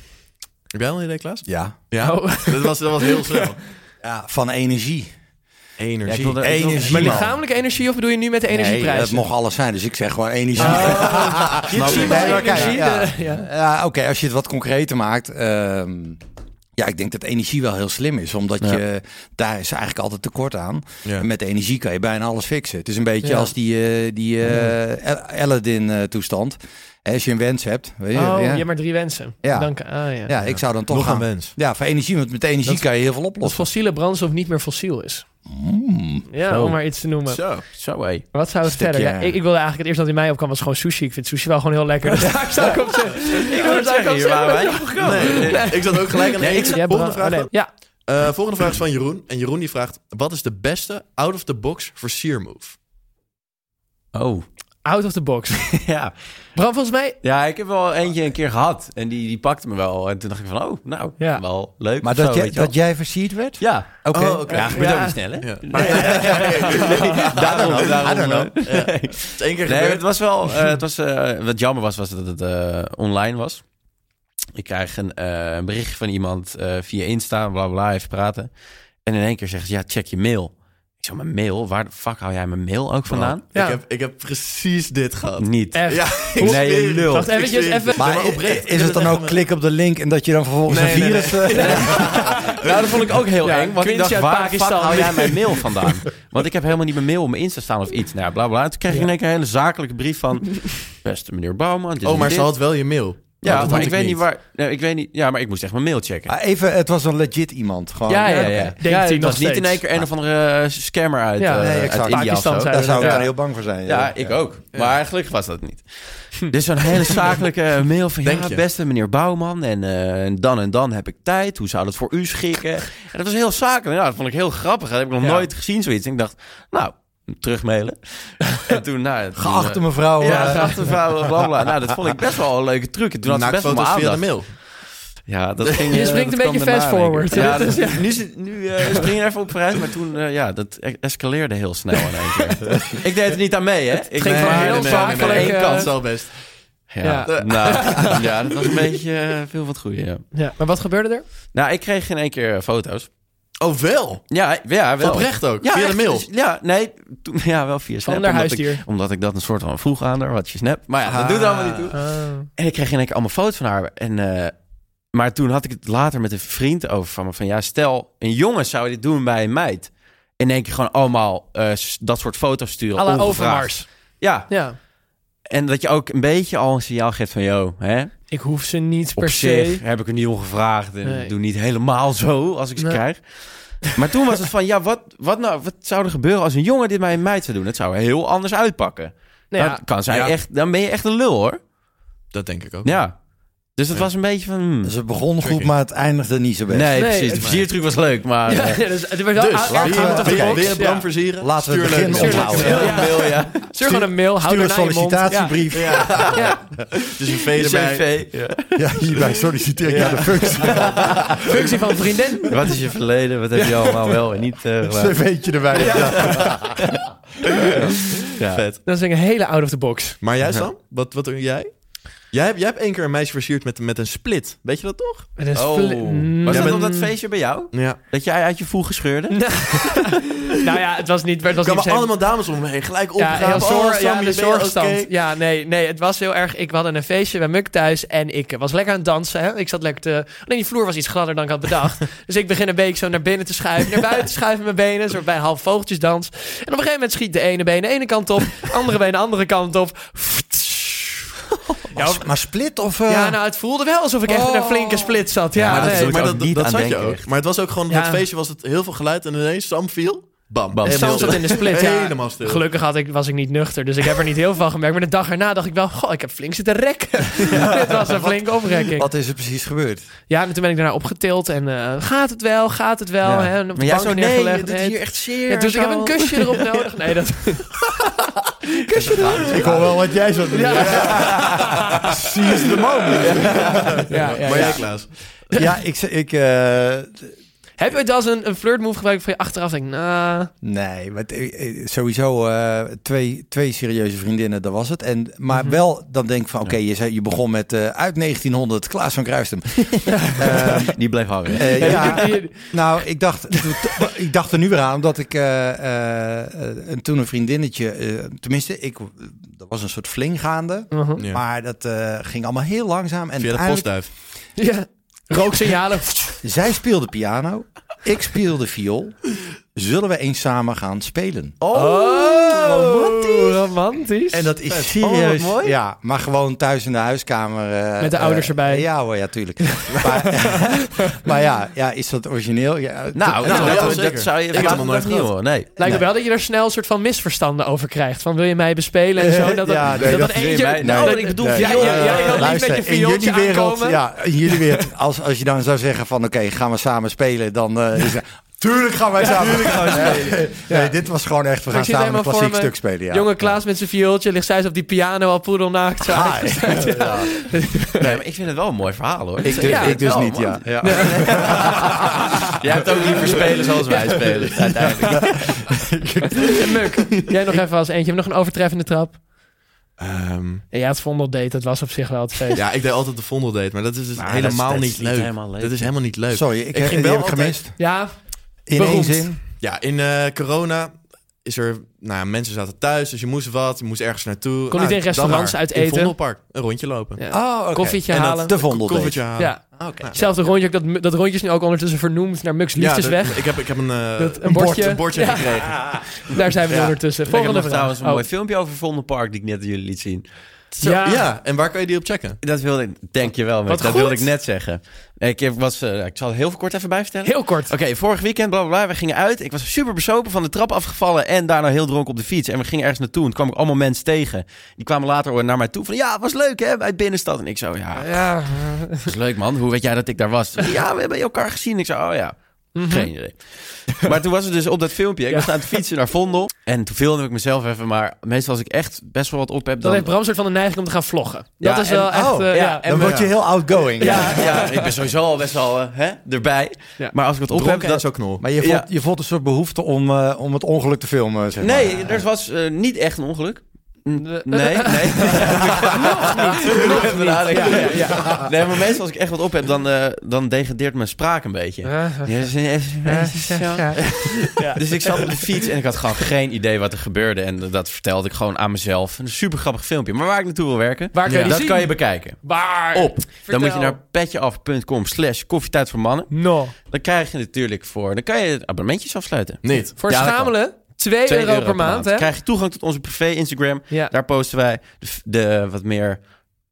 [SPEAKER 8] Heb jij al een idee, Klaas?
[SPEAKER 7] Ja.
[SPEAKER 8] Ja.
[SPEAKER 6] Oh.
[SPEAKER 8] Dat, was, dat was heel
[SPEAKER 6] [LAUGHS]
[SPEAKER 8] snel.
[SPEAKER 7] ja, van energie.
[SPEAKER 8] Energie.
[SPEAKER 4] Ja, ik wilde- ik wilde-
[SPEAKER 7] Energie.
[SPEAKER 6] Maar
[SPEAKER 7] man.
[SPEAKER 6] lichamelijke energie of bedoel je nu met de
[SPEAKER 7] Nou. Nee,
[SPEAKER 6] energieprijs?
[SPEAKER 7] dat mocht alles zijn, dus ik zeg gewoon energie.
[SPEAKER 6] Dit zie je
[SPEAKER 7] Nee,
[SPEAKER 6] wel
[SPEAKER 7] maar kijk,
[SPEAKER 6] energie,
[SPEAKER 7] ja.
[SPEAKER 6] de- ja.
[SPEAKER 7] Ja, oké, als je het wat concreter maakt. ehm, ja, ik denk dat energie wel heel slim is, omdat je daar is eigenlijk altijd tekort aan.
[SPEAKER 8] Ja.
[SPEAKER 7] En met energie kan je bijna alles fixen. Het is een beetje
[SPEAKER 6] Ja.
[SPEAKER 7] als die, eh die eh El- Aladdin eh, toestand. Hè, Als je een wens hebt, weet je,
[SPEAKER 6] Oh, je
[SPEAKER 7] ja.
[SPEAKER 6] hebt maar drie wensen.
[SPEAKER 7] Ja.
[SPEAKER 6] Dank. Ah, ja.
[SPEAKER 7] ja, ik zou dan toch
[SPEAKER 8] Nog
[SPEAKER 7] gaan.
[SPEAKER 8] een wens.
[SPEAKER 7] Ja, voor energie, want met energie
[SPEAKER 6] Dat-
[SPEAKER 7] kan je heel veel
[SPEAKER 6] Dat
[SPEAKER 7] oplossen.
[SPEAKER 6] fossiele brandstof niet meer fossiel is.
[SPEAKER 7] Hmm.
[SPEAKER 6] Ja,
[SPEAKER 4] Zo.
[SPEAKER 6] om maar iets te noemen.
[SPEAKER 8] Zo.
[SPEAKER 4] Zo, hé.
[SPEAKER 6] Wat zou het
[SPEAKER 7] Stukje-
[SPEAKER 6] verder? Ja, ik, ik wilde eigenlijk het eerste dat in mij opkwam was gewoon sushi. Ik vind sushi wel gewoon heel
[SPEAKER 4] [LAUGHS]
[SPEAKER 6] lekker. Dus daar zou ik op zeggen. Ik wil er daar ook op zeggen. dat je op kan.
[SPEAKER 8] Nee, nee, Ik zat ook gelijk aan de
[SPEAKER 6] Nee, ik
[SPEAKER 8] volgende
[SPEAKER 6] jij
[SPEAKER 8] vraag.
[SPEAKER 6] bra- oh, nee.
[SPEAKER 8] van-
[SPEAKER 6] Ja,
[SPEAKER 8] Eh, volgende vraag is van Jeroen. En Jeroen die vraagt: wat is de beste out-of-the-box versiermove?
[SPEAKER 4] Oh.
[SPEAKER 6] out of the box.
[SPEAKER 4] [LAUGHS] Ja.
[SPEAKER 6] Bram, volgens mij...
[SPEAKER 4] Ja, ik heb wel eentje een keer gehad. En die, die pakte me wel. En toen dacht ik van, oh, nou,
[SPEAKER 6] Ja.
[SPEAKER 4] wel leuk.
[SPEAKER 7] Maar
[SPEAKER 4] of
[SPEAKER 7] dat,
[SPEAKER 4] zo,
[SPEAKER 7] jij,
[SPEAKER 4] weet je wel.
[SPEAKER 7] dat jij versierd werd?
[SPEAKER 4] Ja.
[SPEAKER 7] Oké.
[SPEAKER 8] Oh, oké.
[SPEAKER 4] Ja, gebeurt
[SPEAKER 6] Ja.
[SPEAKER 4] ook niet snel, hè?
[SPEAKER 8] Ja.
[SPEAKER 4] [LAUGHS] Nee, [LAUGHS] daarom, daarom. eh,
[SPEAKER 8] Het is één keer
[SPEAKER 4] [LAUGHS] Nee,
[SPEAKER 8] gebeurd.
[SPEAKER 4] het was wel... eh, het was, eh, wat jammer was, was dat het eh, online was. Ik krijg een, eh, een berichtje van iemand eh, via Insta, bla bla, even praten. En in één keer zegt ze, ja, check je mail. Ik zeg, mijn mail? Waar de fuck hou jij mijn mail ook vandaan?
[SPEAKER 6] Ja.
[SPEAKER 8] Oh, Ik, heb, ik heb precies dit gehad.
[SPEAKER 4] Niet.
[SPEAKER 6] Echt.
[SPEAKER 8] Ja, [LAUGHS] ik
[SPEAKER 4] Nee,
[SPEAKER 8] zweer
[SPEAKER 4] je
[SPEAKER 8] het.
[SPEAKER 4] lult.
[SPEAKER 8] Ik
[SPEAKER 6] Wacht eventjes,
[SPEAKER 8] zweer het.
[SPEAKER 6] even-
[SPEAKER 8] Nee,
[SPEAKER 7] Maar
[SPEAKER 8] maar oprecht. eh,
[SPEAKER 7] is het dan ook klik op de link en dat je dan vervolgens
[SPEAKER 8] Nee,
[SPEAKER 7] een
[SPEAKER 8] nee,
[SPEAKER 7] virus... eh,
[SPEAKER 4] Nou, dat vond ik ook heel
[SPEAKER 6] Ja,
[SPEAKER 4] eng. Want ik
[SPEAKER 6] Quincy
[SPEAKER 4] dacht,
[SPEAKER 6] uit
[SPEAKER 4] waar de fuck
[SPEAKER 6] Pakistan.
[SPEAKER 4] hou jij mijn mail vandaan? [LAUGHS] Want ik heb helemaal niet mijn mail op mijn Insta staan of iets. Nou ja, bla bla. Toen kreeg ik in één keer een hele zakelijke brief van... Beste meneer Bouwman, dit en
[SPEAKER 8] Oh, maar
[SPEAKER 4] dit.
[SPEAKER 8] ze had wel je mail. dat
[SPEAKER 4] Ja, maar
[SPEAKER 8] had
[SPEAKER 4] ik,
[SPEAKER 8] ik
[SPEAKER 4] weet niet
[SPEAKER 8] niet.
[SPEAKER 4] waar... Nee, ik weet niet... Ja, maar ik moest echt mijn mail
[SPEAKER 7] [LAUGHS]
[SPEAKER 4] checken.
[SPEAKER 7] Ah, Even, het was een legit iemand. Gewoon.
[SPEAKER 4] Ah, ja, ja, ja.
[SPEAKER 7] oké.
[SPEAKER 6] Denkt hij
[SPEAKER 4] Het
[SPEAKER 6] nog
[SPEAKER 4] was niet
[SPEAKER 6] steeds.
[SPEAKER 4] in één keer een of andere eh, scammer uit,
[SPEAKER 6] Ja,
[SPEAKER 4] eh,
[SPEAKER 7] nee,
[SPEAKER 4] uit
[SPEAKER 7] exact.
[SPEAKER 4] India of
[SPEAKER 6] Pakistan
[SPEAKER 4] zo.
[SPEAKER 6] zijn.
[SPEAKER 7] Daar zou ik
[SPEAKER 6] Ja.
[SPEAKER 7] dan heel bang voor zijn.
[SPEAKER 4] Ja, ik ook. Maar gelukkig was dat niet. Dus zo'n hele zakelijke mail van...
[SPEAKER 8] Denk
[SPEAKER 4] ja,
[SPEAKER 8] je?
[SPEAKER 4] beste meneer Bouwman, en eh, en dan en dan heb ik tijd. Hoe zou dat voor u schikken? En dat was heel zakelijk. Nou, dat vond ik heel grappig. Dat heb ik nog
[SPEAKER 6] Ja.
[SPEAKER 4] nooit gezien, zoiets. En ik dacht, nou, terugmailen. en toen, nou... toen,
[SPEAKER 7] Geachte
[SPEAKER 4] eh,
[SPEAKER 7] mevrouw.
[SPEAKER 4] ja,
[SPEAKER 7] eh,
[SPEAKER 4] geachte vrouw, bla, bla, bla. Nou, dat vond ik best wel een leuke truc. En Toen had ze best wel mijn
[SPEAKER 8] Naaktfoto's via de
[SPEAKER 4] aandacht.
[SPEAKER 8] mail.
[SPEAKER 4] Ja, dat ging,
[SPEAKER 6] Je
[SPEAKER 4] eh,
[SPEAKER 6] springt een
[SPEAKER 4] dat kwam
[SPEAKER 6] beetje
[SPEAKER 4] daarna,
[SPEAKER 6] fast forward. Dus
[SPEAKER 4] denk ik. Ja,
[SPEAKER 6] [LAUGHS] Dat is-
[SPEAKER 4] dat- nu zit- nu eh spring je er even op vooruit, maar toen, eh, ja, dat e- escaleerde heel snel in één
[SPEAKER 6] [LAUGHS]
[SPEAKER 4] keer. ik deed er niet aan mee, hè? Ik
[SPEAKER 6] ging van
[SPEAKER 4] maar-
[SPEAKER 6] heel zakelijk,
[SPEAKER 4] één
[SPEAKER 6] eh,
[SPEAKER 4] kant.
[SPEAKER 8] Dat is al best.
[SPEAKER 4] Ja,
[SPEAKER 6] Ja.
[SPEAKER 4] nou,
[SPEAKER 6] [LAUGHS]
[SPEAKER 4] ja, dat was een beetje eh, veel wat goede, ja.
[SPEAKER 6] Ja, maar wat gebeurde er?
[SPEAKER 4] Nou, ik kreeg in één keer eh, foto's.
[SPEAKER 8] Oh, wel?
[SPEAKER 4] Ja, ja, wel.
[SPEAKER 8] Oprecht ook?
[SPEAKER 4] Ja,
[SPEAKER 8] via de
[SPEAKER 4] echt.
[SPEAKER 8] mail?
[SPEAKER 4] Dus- ja, nee, toen, [LAUGHS] ja, wel via Snap.
[SPEAKER 6] Van naar
[SPEAKER 4] omdat, ik,
[SPEAKER 6] huisdier. Ah.
[SPEAKER 4] omdat ik dat een soort van vroeg aan haar, wat je snap. Maar ja, dat doet allemaal niet toe. En ik kreeg in één keer allemaal foto's van haar. En, eh, maar toen had ik het later met een vriend over van me. Van ja, stel, een jongen zou dit doen bij een meid. In één keer gewoon allemaal eh, s- dat soort foto's sturen.
[SPEAKER 6] Alle
[SPEAKER 4] ongevraagd.
[SPEAKER 6] overmars.
[SPEAKER 4] Ja,
[SPEAKER 6] Ja.
[SPEAKER 4] en dat je ook een beetje al een signaal geeft van... Yo, hè,
[SPEAKER 6] Ik hoef ze niet
[SPEAKER 4] op
[SPEAKER 6] per
[SPEAKER 4] zich
[SPEAKER 6] se.
[SPEAKER 4] heb ik er niet om gevraagd. En
[SPEAKER 6] Nee.
[SPEAKER 4] ik doe niet helemaal zo als ik ze
[SPEAKER 6] Nee.
[SPEAKER 4] krijg. Maar toen was het van, ja, wat, wat, nou, wat zou er gebeuren als een jongen dit bij een meid zou doen? Het zou heel anders uitpakken.
[SPEAKER 6] Nou ja,
[SPEAKER 4] dan, kan zij
[SPEAKER 8] Ja.
[SPEAKER 4] echt, dan ben je echt een lul, hoor.
[SPEAKER 8] Dat denk ik ook.
[SPEAKER 4] Ja. Dus het
[SPEAKER 8] Ja.
[SPEAKER 4] was een beetje van... hmm.
[SPEAKER 7] Dus het begon goed, maar het eindigde niet zo best.
[SPEAKER 4] Nee,
[SPEAKER 6] Nee,
[SPEAKER 4] precies.
[SPEAKER 6] het-
[SPEAKER 4] De versiertruc was leuk,
[SPEAKER 6] [LAUGHS]
[SPEAKER 4] maar...
[SPEAKER 6] Ja,
[SPEAKER 4] eh,
[SPEAKER 6] ja, dus, het was wel
[SPEAKER 8] Dus,
[SPEAKER 6] aardig
[SPEAKER 8] laten
[SPEAKER 7] we-
[SPEAKER 6] out of the
[SPEAKER 8] Wil je-
[SPEAKER 6] box.
[SPEAKER 8] wil je Bram
[SPEAKER 6] Ja.
[SPEAKER 8] versieren?
[SPEAKER 7] Laten we het
[SPEAKER 8] Stuur
[SPEAKER 7] begin
[SPEAKER 8] leuke mail.
[SPEAKER 7] onthouden.
[SPEAKER 4] ja. Mail, ja.
[SPEAKER 6] Stuur gewoon een mail, hou
[SPEAKER 7] Stuur een
[SPEAKER 6] daarna je mond.
[SPEAKER 7] sollicitatiebrief. Ja.
[SPEAKER 6] Ja.
[SPEAKER 8] Dus je V erbij.
[SPEAKER 7] hierbij solliciteer ik naar de functie.
[SPEAKER 6] Functie van vriendin.
[SPEAKER 4] Wat is je verleden? Wat heb je allemaal wel en niet eh, gedaan?
[SPEAKER 7] CV'tje erbij. Ja.
[SPEAKER 4] Ja.
[SPEAKER 8] Vet.
[SPEAKER 6] Dat is een hele out of the box.
[SPEAKER 8] Maar jij, Sam? Wat, wat doe jij? Jij hebt, jij hebt één keer een meisje versierd met, met een split. Weet je dat toch?
[SPEAKER 6] Dat is
[SPEAKER 4] Oh.
[SPEAKER 6] vle- Mm.
[SPEAKER 4] Was
[SPEAKER 8] Jij
[SPEAKER 4] dat
[SPEAKER 8] bent-
[SPEAKER 4] op dat feestje bij jou?
[SPEAKER 8] Ja.
[SPEAKER 4] Dat jij uit je voegen scheurde?
[SPEAKER 6] [LAUGHS] Nou ja, het was niet... Het was
[SPEAKER 8] Er
[SPEAKER 6] niet per
[SPEAKER 8] kwamen
[SPEAKER 6] se-
[SPEAKER 8] allemaal dames om me heen. Gelijk
[SPEAKER 6] Ja,
[SPEAKER 8] opgegaan.
[SPEAKER 6] heel
[SPEAKER 8] oh,
[SPEAKER 6] zorg,
[SPEAKER 8] Sam,
[SPEAKER 6] ja,
[SPEAKER 8] je
[SPEAKER 6] de
[SPEAKER 8] bent wel
[SPEAKER 6] zorgstand.
[SPEAKER 8] oké.
[SPEAKER 6] Ja, nee, nee, het was heel erg... Ik we hadden een feestje bij Muk thuis en ik eh, was lekker aan het dansen. Hè? Ik zat lekker te... Alleen die vloer was iets gladder dan ik had bedacht. dus ik begin een beetje zo naar binnen te schuiven, naar buiten te schuiven met mijn benen. Een soort bij half vogeltjesdans. En op een gegeven moment schiet de ene been de ene kant op, andere been de andere kant op.
[SPEAKER 7] Maar split of... eh,
[SPEAKER 6] Ja, nou, het voelde wel alsof ik echt in een flinke split zat. Ja,
[SPEAKER 4] maar dat
[SPEAKER 6] nee.
[SPEAKER 4] is ook-
[SPEAKER 8] Maar
[SPEAKER 4] ik
[SPEAKER 8] dat,
[SPEAKER 4] niet
[SPEAKER 8] dat
[SPEAKER 4] aan
[SPEAKER 8] zat je
[SPEAKER 4] denken,
[SPEAKER 8] ook.
[SPEAKER 4] echt.
[SPEAKER 8] Maar het was ook gewoon...
[SPEAKER 6] Ja.
[SPEAKER 8] Het feestje was het heel veel geluid. En ineens Sam viel. Bam.
[SPEAKER 4] Bam.
[SPEAKER 8] En
[SPEAKER 6] Sam
[SPEAKER 8] heel-
[SPEAKER 6] zat in de split, ja.
[SPEAKER 8] Helemaal stil.
[SPEAKER 6] Gelukkig had ik, was ik niet nuchter, dus ik heb er niet heel veel van gemerkt. Maar de dag erna dacht ik wel, goh, ik heb flink zitten
[SPEAKER 8] [LAUGHS]
[SPEAKER 6] rekken. [LAUGHS] Dit was een flinke oprekking.
[SPEAKER 7] Wat is er precies gebeurd?
[SPEAKER 6] Ja, en toen ben ik daarna opgetild en eh, gaat het wel, gaat het wel?
[SPEAKER 4] Ja.
[SPEAKER 6] Hè? En op de
[SPEAKER 4] Maar jij
[SPEAKER 6] bank
[SPEAKER 4] zo, nee,
[SPEAKER 6] neergelegd.
[SPEAKER 4] het doet
[SPEAKER 6] Nee,
[SPEAKER 4] hier echt zeer.
[SPEAKER 6] ja, dus ik heb een
[SPEAKER 4] zo.
[SPEAKER 6] kusje erop nodig. Nee, dat...
[SPEAKER 7] Ik hoor wel wat jij zou doen.
[SPEAKER 6] Ja, ja,
[SPEAKER 7] Precies de moment.
[SPEAKER 6] ja, ja.
[SPEAKER 8] Maar jij, Klaas?
[SPEAKER 7] Ja, ik... ze- ik eh,
[SPEAKER 6] Heb je als een, een flirtmove gebruikt van je achteraf? Denk, ik, nou,
[SPEAKER 7] Nee, maar t- eh, sowieso eh, twee, twee serieuze vriendinnen, dat was het. En, maar wel, dan denk ik van, oké, je je, je begon met eh, uit 1900, Klaas van [LAUGHS] Kruistem. Ehm,
[SPEAKER 4] Die bleef hangen.
[SPEAKER 7] eh, ja,
[SPEAKER 6] die- die-
[SPEAKER 7] nou, ik dacht, [LAUGHS] ik dacht er nu weer aan, omdat ik eh, eh, eh, en toen een vriendinnetje, eh, tenminste, ik, dat was een soort fling gaande.
[SPEAKER 6] Mhm.
[SPEAKER 8] Ja.
[SPEAKER 7] Maar dat eh, ging allemaal heel langzaam. En
[SPEAKER 8] Via de
[SPEAKER 7] uiteindelijk-
[SPEAKER 8] postduif.
[SPEAKER 6] ja. Rooksignalen.
[SPEAKER 7] zij speelde piano, ik speelde viool. Zullen we eens samen gaan spelen?
[SPEAKER 6] romantisch. romantisch.
[SPEAKER 7] En dat is
[SPEAKER 4] Oh,
[SPEAKER 7] serieus.
[SPEAKER 4] wat mooi.
[SPEAKER 7] Ja, maar gewoon thuis in de huiskamer. eh,
[SPEAKER 6] Met de
[SPEAKER 7] eh,
[SPEAKER 6] ouders erbij.
[SPEAKER 7] Ja hoor, ja, tuurlijk. [LAUGHS] maar maar [LAUGHS] ja, ja, is dat origineel? Ja, t-
[SPEAKER 8] Nou,
[SPEAKER 4] Nou,
[SPEAKER 8] ja,
[SPEAKER 4] dat,
[SPEAKER 8] zeker.
[SPEAKER 4] dat zou je
[SPEAKER 8] Ik heb
[SPEAKER 4] vandaag
[SPEAKER 8] hem
[SPEAKER 4] nog
[SPEAKER 8] nooit
[SPEAKER 4] niet
[SPEAKER 8] gehad.
[SPEAKER 4] horen. Nee.
[SPEAKER 6] Lijkt me wel dat je daar snel een soort van misverstanden over krijgt. Van wil je mij bespelen en zo. Dat, dat,
[SPEAKER 7] Ja, nee,
[SPEAKER 6] dat,
[SPEAKER 7] dat
[SPEAKER 6] dat
[SPEAKER 4] is weer
[SPEAKER 6] eentje...
[SPEAKER 4] mij- nee.
[SPEAKER 6] Nou,
[SPEAKER 4] Nee.
[SPEAKER 6] ik bedoel,
[SPEAKER 4] Nee.
[SPEAKER 6] ja, ja, ja, je wil niet
[SPEAKER 7] luister,
[SPEAKER 6] met je
[SPEAKER 7] in jullie
[SPEAKER 6] viooltje
[SPEAKER 7] wereld,
[SPEAKER 6] aankomen.
[SPEAKER 7] ja, in jullie wereld, als, als je dan zou zeggen van, oké, gaan we samen spelen, dan eh, is het, tuurlijk gaan wij samen spelen. Nee, dit was gewoon echt, we gaan
[SPEAKER 6] ik zie het
[SPEAKER 7] samen
[SPEAKER 6] helemaal
[SPEAKER 7] een
[SPEAKER 6] voor
[SPEAKER 7] klassiek
[SPEAKER 6] me.
[SPEAKER 7] stuk spelen. Ja.
[SPEAKER 6] Jonge Klaas met zijn viooltje ligt zij zo op die piano al poedelnaakt. Zo.
[SPEAKER 7] Ah, ja.
[SPEAKER 4] Nee, maar ik vind het wel een mooi verhaal hoor.
[SPEAKER 7] Ik dus,
[SPEAKER 6] Ja,
[SPEAKER 7] ik dus
[SPEAKER 4] wel,
[SPEAKER 7] niet,
[SPEAKER 4] man.
[SPEAKER 7] ja. ja.
[SPEAKER 4] [LAUGHS] Jij hebt ook liever spelen zoals wij spelen. Uiteindelijk.
[SPEAKER 6] En Muk, jij nog even als eentje. Nog een overtreffende trap.
[SPEAKER 8] Ehm,
[SPEAKER 6] Ja, het vondeldate, dat was op zich wel het feest.
[SPEAKER 8] ja, ik deed altijd de vondeldate. Maar dat is dus
[SPEAKER 4] Nou, dat is-
[SPEAKER 8] helemaal
[SPEAKER 4] dat is
[SPEAKER 8] niet
[SPEAKER 4] niet
[SPEAKER 8] leuk.
[SPEAKER 4] helemaal leuk.
[SPEAKER 8] Dat is helemaal niet leuk.
[SPEAKER 7] [LAUGHS] Sorry, ik,
[SPEAKER 8] ging
[SPEAKER 7] heb, die
[SPEAKER 8] wel
[SPEAKER 7] heb ik
[SPEAKER 8] altijd-
[SPEAKER 7] gemist.
[SPEAKER 6] Ja,
[SPEAKER 7] In
[SPEAKER 6] beroemd.
[SPEAKER 7] één zin.
[SPEAKER 8] Ja, in eh, corona is er... Nou, ja, mensen zaten thuis, dus je moest wat. Je moest ergens naartoe.
[SPEAKER 6] Kon niet
[SPEAKER 8] Ah,
[SPEAKER 6] in
[SPEAKER 8] dan
[SPEAKER 6] restaurants
[SPEAKER 8] maar
[SPEAKER 6] uit
[SPEAKER 8] In
[SPEAKER 6] eten.
[SPEAKER 8] Vondelpark. Een rondje lopen.
[SPEAKER 6] Ja.
[SPEAKER 7] Oh, oké.
[SPEAKER 6] Koffietje
[SPEAKER 8] En dat-
[SPEAKER 6] halen.
[SPEAKER 7] De vondel deed.
[SPEAKER 8] Koffertje halen. Nou,
[SPEAKER 6] Ja.
[SPEAKER 7] Ah, oké.
[SPEAKER 6] Hetzelfde rondje, ook dat, dat rondje is nu ook ondertussen vernoemd naar Mux
[SPEAKER 8] Ja, dat-
[SPEAKER 6] Liefdesweg.
[SPEAKER 8] Ik heb, ik heb een, eh,
[SPEAKER 6] Dat- een
[SPEAKER 8] bord-
[SPEAKER 6] bordje.
[SPEAKER 8] een bordje
[SPEAKER 6] Ja.
[SPEAKER 8] gekregen.
[SPEAKER 6] Daar zijn we
[SPEAKER 8] Ja.
[SPEAKER 6] ondertussen.
[SPEAKER 4] Ik heb
[SPEAKER 6] Volgende
[SPEAKER 4] nog
[SPEAKER 6] vraag.
[SPEAKER 4] trouwens een
[SPEAKER 6] Oh.
[SPEAKER 4] mooi filmpje over Vondelpark die ik net aan jullie liet zien.
[SPEAKER 8] Zo,
[SPEAKER 6] Ja.
[SPEAKER 8] ja. en waar kan je die op checken?
[SPEAKER 4] Dat wilde ik, denk je wel, Mick.
[SPEAKER 6] Wat
[SPEAKER 4] dat
[SPEAKER 6] goed.
[SPEAKER 4] wilde ik net zeggen. Ik, heb- was, eh, ik zal het heel kort even bijvertellen.
[SPEAKER 6] Heel kort.
[SPEAKER 4] Oké, vorig weekend, bla bla bla. We gingen uit. Ik was super besopen, van de trap afgevallen. En daarna heel dronken op de fiets. En we gingen ergens naartoe. En toen kwam ik allemaal mensen tegen. Die kwamen later naar mij toe. Van ja, het was leuk hè, bij de binnenstad. En ik zo, ja,
[SPEAKER 6] Ja.
[SPEAKER 4] het is leuk man. Hoe weet jij dat ik daar was? Ja, we hebben elkaar gezien. Ik zo, oh ja. Geen idee. Maar toen was het dus op dat filmpje. Ik
[SPEAKER 6] Mhm. Ja.
[SPEAKER 4] was aan het fietsen naar Vondel. En toen filmde ik mezelf even. Maar meestal als ik echt best wel wat op heb,
[SPEAKER 6] Dan
[SPEAKER 4] dan...
[SPEAKER 6] heeft Bram soort van de neiging om te gaan vloggen.
[SPEAKER 4] Ja,
[SPEAKER 6] dat is
[SPEAKER 4] en-
[SPEAKER 6] wel echt...
[SPEAKER 7] oh,
[SPEAKER 6] eh,
[SPEAKER 4] ja,
[SPEAKER 6] ja.
[SPEAKER 4] en-
[SPEAKER 7] Dan word je
[SPEAKER 4] Ja.
[SPEAKER 7] heel outgoing.
[SPEAKER 4] Ja, ja, ik ben sowieso al best wel eh, hè, erbij.
[SPEAKER 6] Ja.
[SPEAKER 4] Maar als ik wat op heb...
[SPEAKER 8] Dronken en
[SPEAKER 4] Dat...
[SPEAKER 8] zo knol.
[SPEAKER 7] Maar je voelt,
[SPEAKER 4] Ja.
[SPEAKER 7] je voelt een soort behoefte om, eh, om het ongeluk te filmen, zeg maar.
[SPEAKER 4] Nee, er was eh, niet echt een ongeluk. N-
[SPEAKER 6] Eh,
[SPEAKER 4] Nee,
[SPEAKER 6] [LAUGHS]
[SPEAKER 4] nee. [LAUGHS] Nog niet. Ja, ja, ja. Nee, maar meestal als ik echt wat op heb, dan, eh, dan degradeert mijn spraak een beetje.
[SPEAKER 6] Ja.
[SPEAKER 4] Ja, dus- Dus ik zat op de fiets en ik had gewoon geen idee wat er gebeurde. En dat vertelde ik gewoon aan mezelf. Een super grappig filmpje. Maar waar ik naartoe wil werken,
[SPEAKER 6] Waar kan je die
[SPEAKER 4] dat
[SPEAKER 6] zien?
[SPEAKER 4] kan je bekijken.
[SPEAKER 6] Waar?
[SPEAKER 4] Op.
[SPEAKER 6] Vertel.
[SPEAKER 4] Dan moet je naar petjeaf.com slash koffietijd voor mannen.
[SPEAKER 6] No.
[SPEAKER 4] Dan krijg je natuurlijk voor... Dan kan je abonnementjes afsluiten.
[SPEAKER 8] Niet.
[SPEAKER 6] Voor
[SPEAKER 4] Ja, dat kan.
[SPEAKER 6] schamelen 2
[SPEAKER 4] 2
[SPEAKER 6] euro, per maand, hè?
[SPEAKER 4] krijg je toegang tot onze privé Instagram.
[SPEAKER 6] Ja.
[SPEAKER 4] Daar posten wij de, f- de wat meer...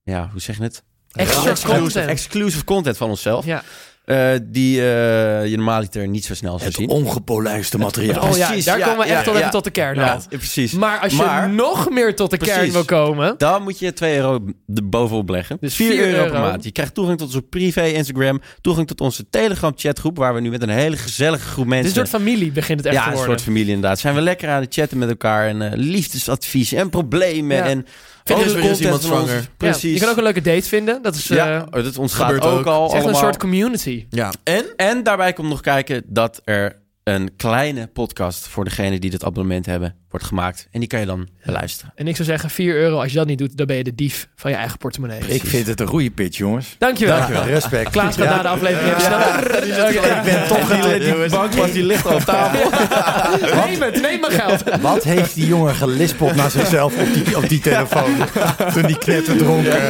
[SPEAKER 4] Ja, hoe zeg je het?
[SPEAKER 6] Extra
[SPEAKER 4] Exclusive,
[SPEAKER 6] content.
[SPEAKER 4] exclusive content van onszelf.
[SPEAKER 6] Ja.
[SPEAKER 4] Eh, die eh, je normaaliter niet zo snel zou
[SPEAKER 7] Het
[SPEAKER 4] zien.
[SPEAKER 7] ongepolijste materiaal.
[SPEAKER 6] Oh ja,
[SPEAKER 4] Precies,
[SPEAKER 6] daar
[SPEAKER 4] ja,
[SPEAKER 6] komen we
[SPEAKER 4] ja,
[SPEAKER 6] echt al
[SPEAKER 4] ja.
[SPEAKER 6] even tot de kern.
[SPEAKER 4] Ja,
[SPEAKER 6] al.
[SPEAKER 4] precies.
[SPEAKER 6] Maar als je
[SPEAKER 4] Maar-
[SPEAKER 6] nog meer tot de kern
[SPEAKER 4] Precies.
[SPEAKER 6] wil komen...
[SPEAKER 4] Dan moet je 2 euro er bovenop leggen.
[SPEAKER 6] Dus
[SPEAKER 4] 4
[SPEAKER 6] €4
[SPEAKER 4] euro, per
[SPEAKER 6] euro.
[SPEAKER 4] maand. Je krijgt toegang tot onze privé Instagram. Toegang tot onze Telegram chatgroep. Waar we nu met een hele gezellige groep
[SPEAKER 6] Dit
[SPEAKER 4] mensen...
[SPEAKER 6] is een soort familie begint het echt
[SPEAKER 4] ja,
[SPEAKER 6] te
[SPEAKER 4] een
[SPEAKER 6] worden.
[SPEAKER 4] soort familie inderdaad. Zijn we lekker aan het chatten met elkaar. En eh, liefdesadvies en problemen.
[SPEAKER 6] Ja.
[SPEAKER 4] En
[SPEAKER 8] Vind
[SPEAKER 4] alle
[SPEAKER 8] eens weer eens
[SPEAKER 4] content
[SPEAKER 8] iemand
[SPEAKER 4] van ons.
[SPEAKER 8] zwanger. Ja,
[SPEAKER 6] Ja,
[SPEAKER 4] Precies.
[SPEAKER 6] je kan ook een leuke date vinden. Dat is, eh
[SPEAKER 4] ja, oh, dat ontgaat ook,
[SPEAKER 8] gebeurt ook.
[SPEAKER 4] al
[SPEAKER 6] het is echt een
[SPEAKER 4] allemaal.
[SPEAKER 6] soort community.
[SPEAKER 8] Ja. En?
[SPEAKER 4] En daarbij komt nog kijken dat er een kleine podcast voor degene die dit abonnement hebben wordt gemaakt. En die kan je dan beluisteren.
[SPEAKER 6] En ik zou zeggen, 4 euro. Als je dat niet doet, dan ben je de dief van je eigen portemonnee.
[SPEAKER 7] Ik vind het een goede pitch, jongens.
[SPEAKER 6] Dankjewel.
[SPEAKER 7] Respect.
[SPEAKER 6] Klaas gaat
[SPEAKER 7] Ja.
[SPEAKER 6] na de aflevering even snel.
[SPEAKER 4] [LAUGHS]
[SPEAKER 7] Ik ben toch een...
[SPEAKER 4] bank was die ligt al op [LAUGHS] tafel.
[SPEAKER 6] [LAUGHS] Neem het, neem mijn geld.
[SPEAKER 7] Wat heeft die jongen gelispeld naar zichzelf op die,
[SPEAKER 6] [LAUGHS]
[SPEAKER 7] op die telefoon? Toen die knetter dronken.
[SPEAKER 6] [LAUGHS]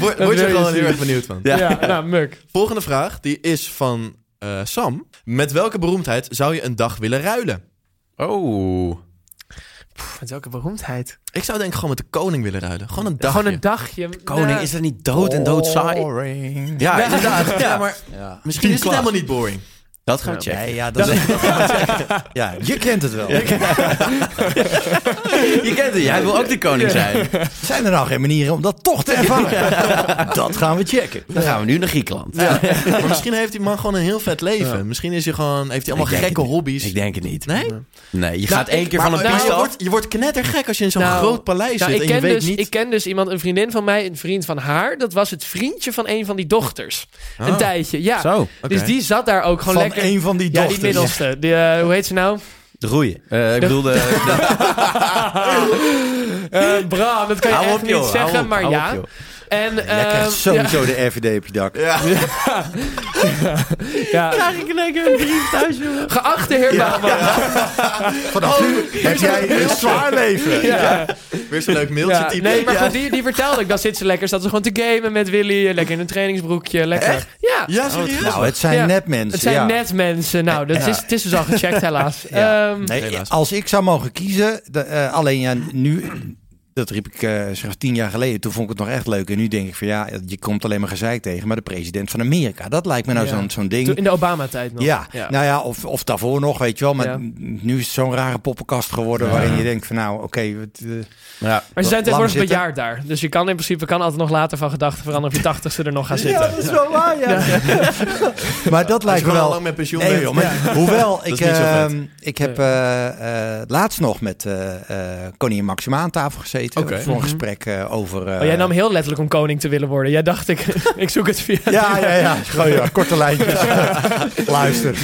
[SPEAKER 8] Word, word je er wel heel erg benieuwd van.
[SPEAKER 6] Ja, nou, muk.
[SPEAKER 8] Volgende vraag, die is van eh, Sam. Met welke beroemdheid zou je een dag willen ruilen?
[SPEAKER 4] Oh.
[SPEAKER 6] Met welke beroemdheid.
[SPEAKER 8] Ik zou denk ik gewoon met de koning willen ruilen. Gewoon een dagje.
[SPEAKER 6] Gewoon een dagje.
[SPEAKER 4] Koning,
[SPEAKER 6] Nou,
[SPEAKER 4] is dat niet dood en dood saai? Ja, inderdaad. Ja, maar
[SPEAKER 8] Misschien is het helemaal niet boring.
[SPEAKER 4] dat gaan we checken.
[SPEAKER 7] Nee, ja, dat is... ja, je kent
[SPEAKER 4] [LAUGHS]
[SPEAKER 7] het wel.
[SPEAKER 4] Je kent het, jij wil ook de koning zijn.
[SPEAKER 7] Zijn er nou geen manieren om dat
[SPEAKER 6] [LAUGHS]
[SPEAKER 7] toch te ervaren? Dat gaan we checken.
[SPEAKER 4] Dan gaan we nu naar Griekenland. [LAUGHS]
[SPEAKER 8] Maar misschien heeft die man gewoon een heel vet leven. Misschien is hij gewoon, heeft hij allemaal
[SPEAKER 4] Ik denk
[SPEAKER 8] gekke
[SPEAKER 4] het niet.
[SPEAKER 8] hobby's.
[SPEAKER 4] Ik denk het niet.
[SPEAKER 8] Nee?
[SPEAKER 4] Nee,
[SPEAKER 7] Nou,
[SPEAKER 4] je gaat één keer van een
[SPEAKER 8] maar
[SPEAKER 4] piste
[SPEAKER 8] je,
[SPEAKER 4] af.
[SPEAKER 8] wordt, je wordt knettergek als je in zo'n
[SPEAKER 6] Nou,
[SPEAKER 8] groot paleis
[SPEAKER 6] nou,
[SPEAKER 8] zit
[SPEAKER 6] ik,
[SPEAKER 8] en je
[SPEAKER 6] ken
[SPEAKER 8] weet
[SPEAKER 6] dus,
[SPEAKER 8] niet...
[SPEAKER 6] ik ken dus iemand, een vriendin van mij, een vriend van haar. Dat was het vriendje van een van die dochters. Een tijdje, ja.
[SPEAKER 4] Zo,
[SPEAKER 6] Dus die zat daar ook gewoon
[SPEAKER 7] Van
[SPEAKER 6] lekker.
[SPEAKER 7] een van die
[SPEAKER 6] ja,
[SPEAKER 7] dochters.
[SPEAKER 6] die middelste. Die, eh, hoe heet ze nou?
[SPEAKER 4] De roeien. Eh, ik bedoel, de, de-
[SPEAKER 6] Eh, Bram, dat kan je
[SPEAKER 4] Hou
[SPEAKER 6] echt
[SPEAKER 4] op,
[SPEAKER 6] niet
[SPEAKER 4] joh, hou
[SPEAKER 6] zeggen,
[SPEAKER 4] op,
[SPEAKER 6] maar
[SPEAKER 4] hou
[SPEAKER 6] ja.
[SPEAKER 4] op, joh.
[SPEAKER 6] en,
[SPEAKER 7] Jij
[SPEAKER 6] ehm,
[SPEAKER 7] krijgt sowieso de RVD op je dak.
[SPEAKER 6] ja, ja. Geachte heer Oh, Bauman.
[SPEAKER 7] Vanaf nu heb jij een zwaar leven.
[SPEAKER 6] Ja.
[SPEAKER 8] Weer zo'n leuk mailtje
[SPEAKER 6] Ja,
[SPEAKER 8] typen.
[SPEAKER 6] nee, maar goed, die, die vertelde ik. Dan zit ze lekker, zat ze gewoon te gamen met Willy. eh, Lekker in een trainingsbroekje, lekker. Ja.
[SPEAKER 8] Ja, serieus?
[SPEAKER 7] Nou, het zijn
[SPEAKER 6] Ja.
[SPEAKER 7] net mensen.
[SPEAKER 6] Het zijn
[SPEAKER 7] ja.
[SPEAKER 6] net mensen. Nou, dat is, het is dus al gecheckt helaas.
[SPEAKER 7] Ja.
[SPEAKER 6] Ehm,
[SPEAKER 7] Nee,
[SPEAKER 8] Helaas.
[SPEAKER 7] als ik zou mogen kiezen, de, eh, alleen ja, nu, dat riep ik eh, zeg tien jaar geleden, toen vond ik het nog echt leuk. En nu denk ik van ja, je komt alleen maar gezeik tegen, maar de president van Amerika, dat lijkt me nou
[SPEAKER 6] Ja.
[SPEAKER 7] zo'n zo'n ding.
[SPEAKER 6] toen- in de Obama-tijd nog.
[SPEAKER 7] ja. nou ja, of, of daarvoor nog, weet je wel. Maar
[SPEAKER 6] Ja.
[SPEAKER 7] nu is het zo'n rare poppenkast geworden waarin je denkt van nou, oké. wat, eh,
[SPEAKER 4] ja.
[SPEAKER 6] maar ze zijn
[SPEAKER 7] Lang
[SPEAKER 6] tegenwoordig
[SPEAKER 7] zitten.
[SPEAKER 6] bejaard daar. Dus je kan in principe kan altijd nog later van gedachten veranderen of je tachtigste er nog gaan zitten.
[SPEAKER 7] dat is wel waar, ja. [LAUGHS] maar dat
[SPEAKER 8] Als je
[SPEAKER 7] lijkt me
[SPEAKER 8] gewoon al
[SPEAKER 7] wel...
[SPEAKER 8] lang met pensioen
[SPEAKER 7] Nee,
[SPEAKER 8] bent.
[SPEAKER 7] joh, maar hoewel, ik,
[SPEAKER 8] is niet zo vet.
[SPEAKER 7] ehm, ik heb eh, eh, laatst nog met eh, eh, koningin Maxima aan tafel gezeten.
[SPEAKER 8] Oké.
[SPEAKER 7] Voor een gesprek eh, over... eh,
[SPEAKER 6] Oh, jij nam heel letterlijk om koning te willen worden. Jij dacht, ik, [LAUGHS] ik zoek het via...
[SPEAKER 7] [LAUGHS] Ja, ja, ja. Gewoon, ja, korte lijntjes. Luister.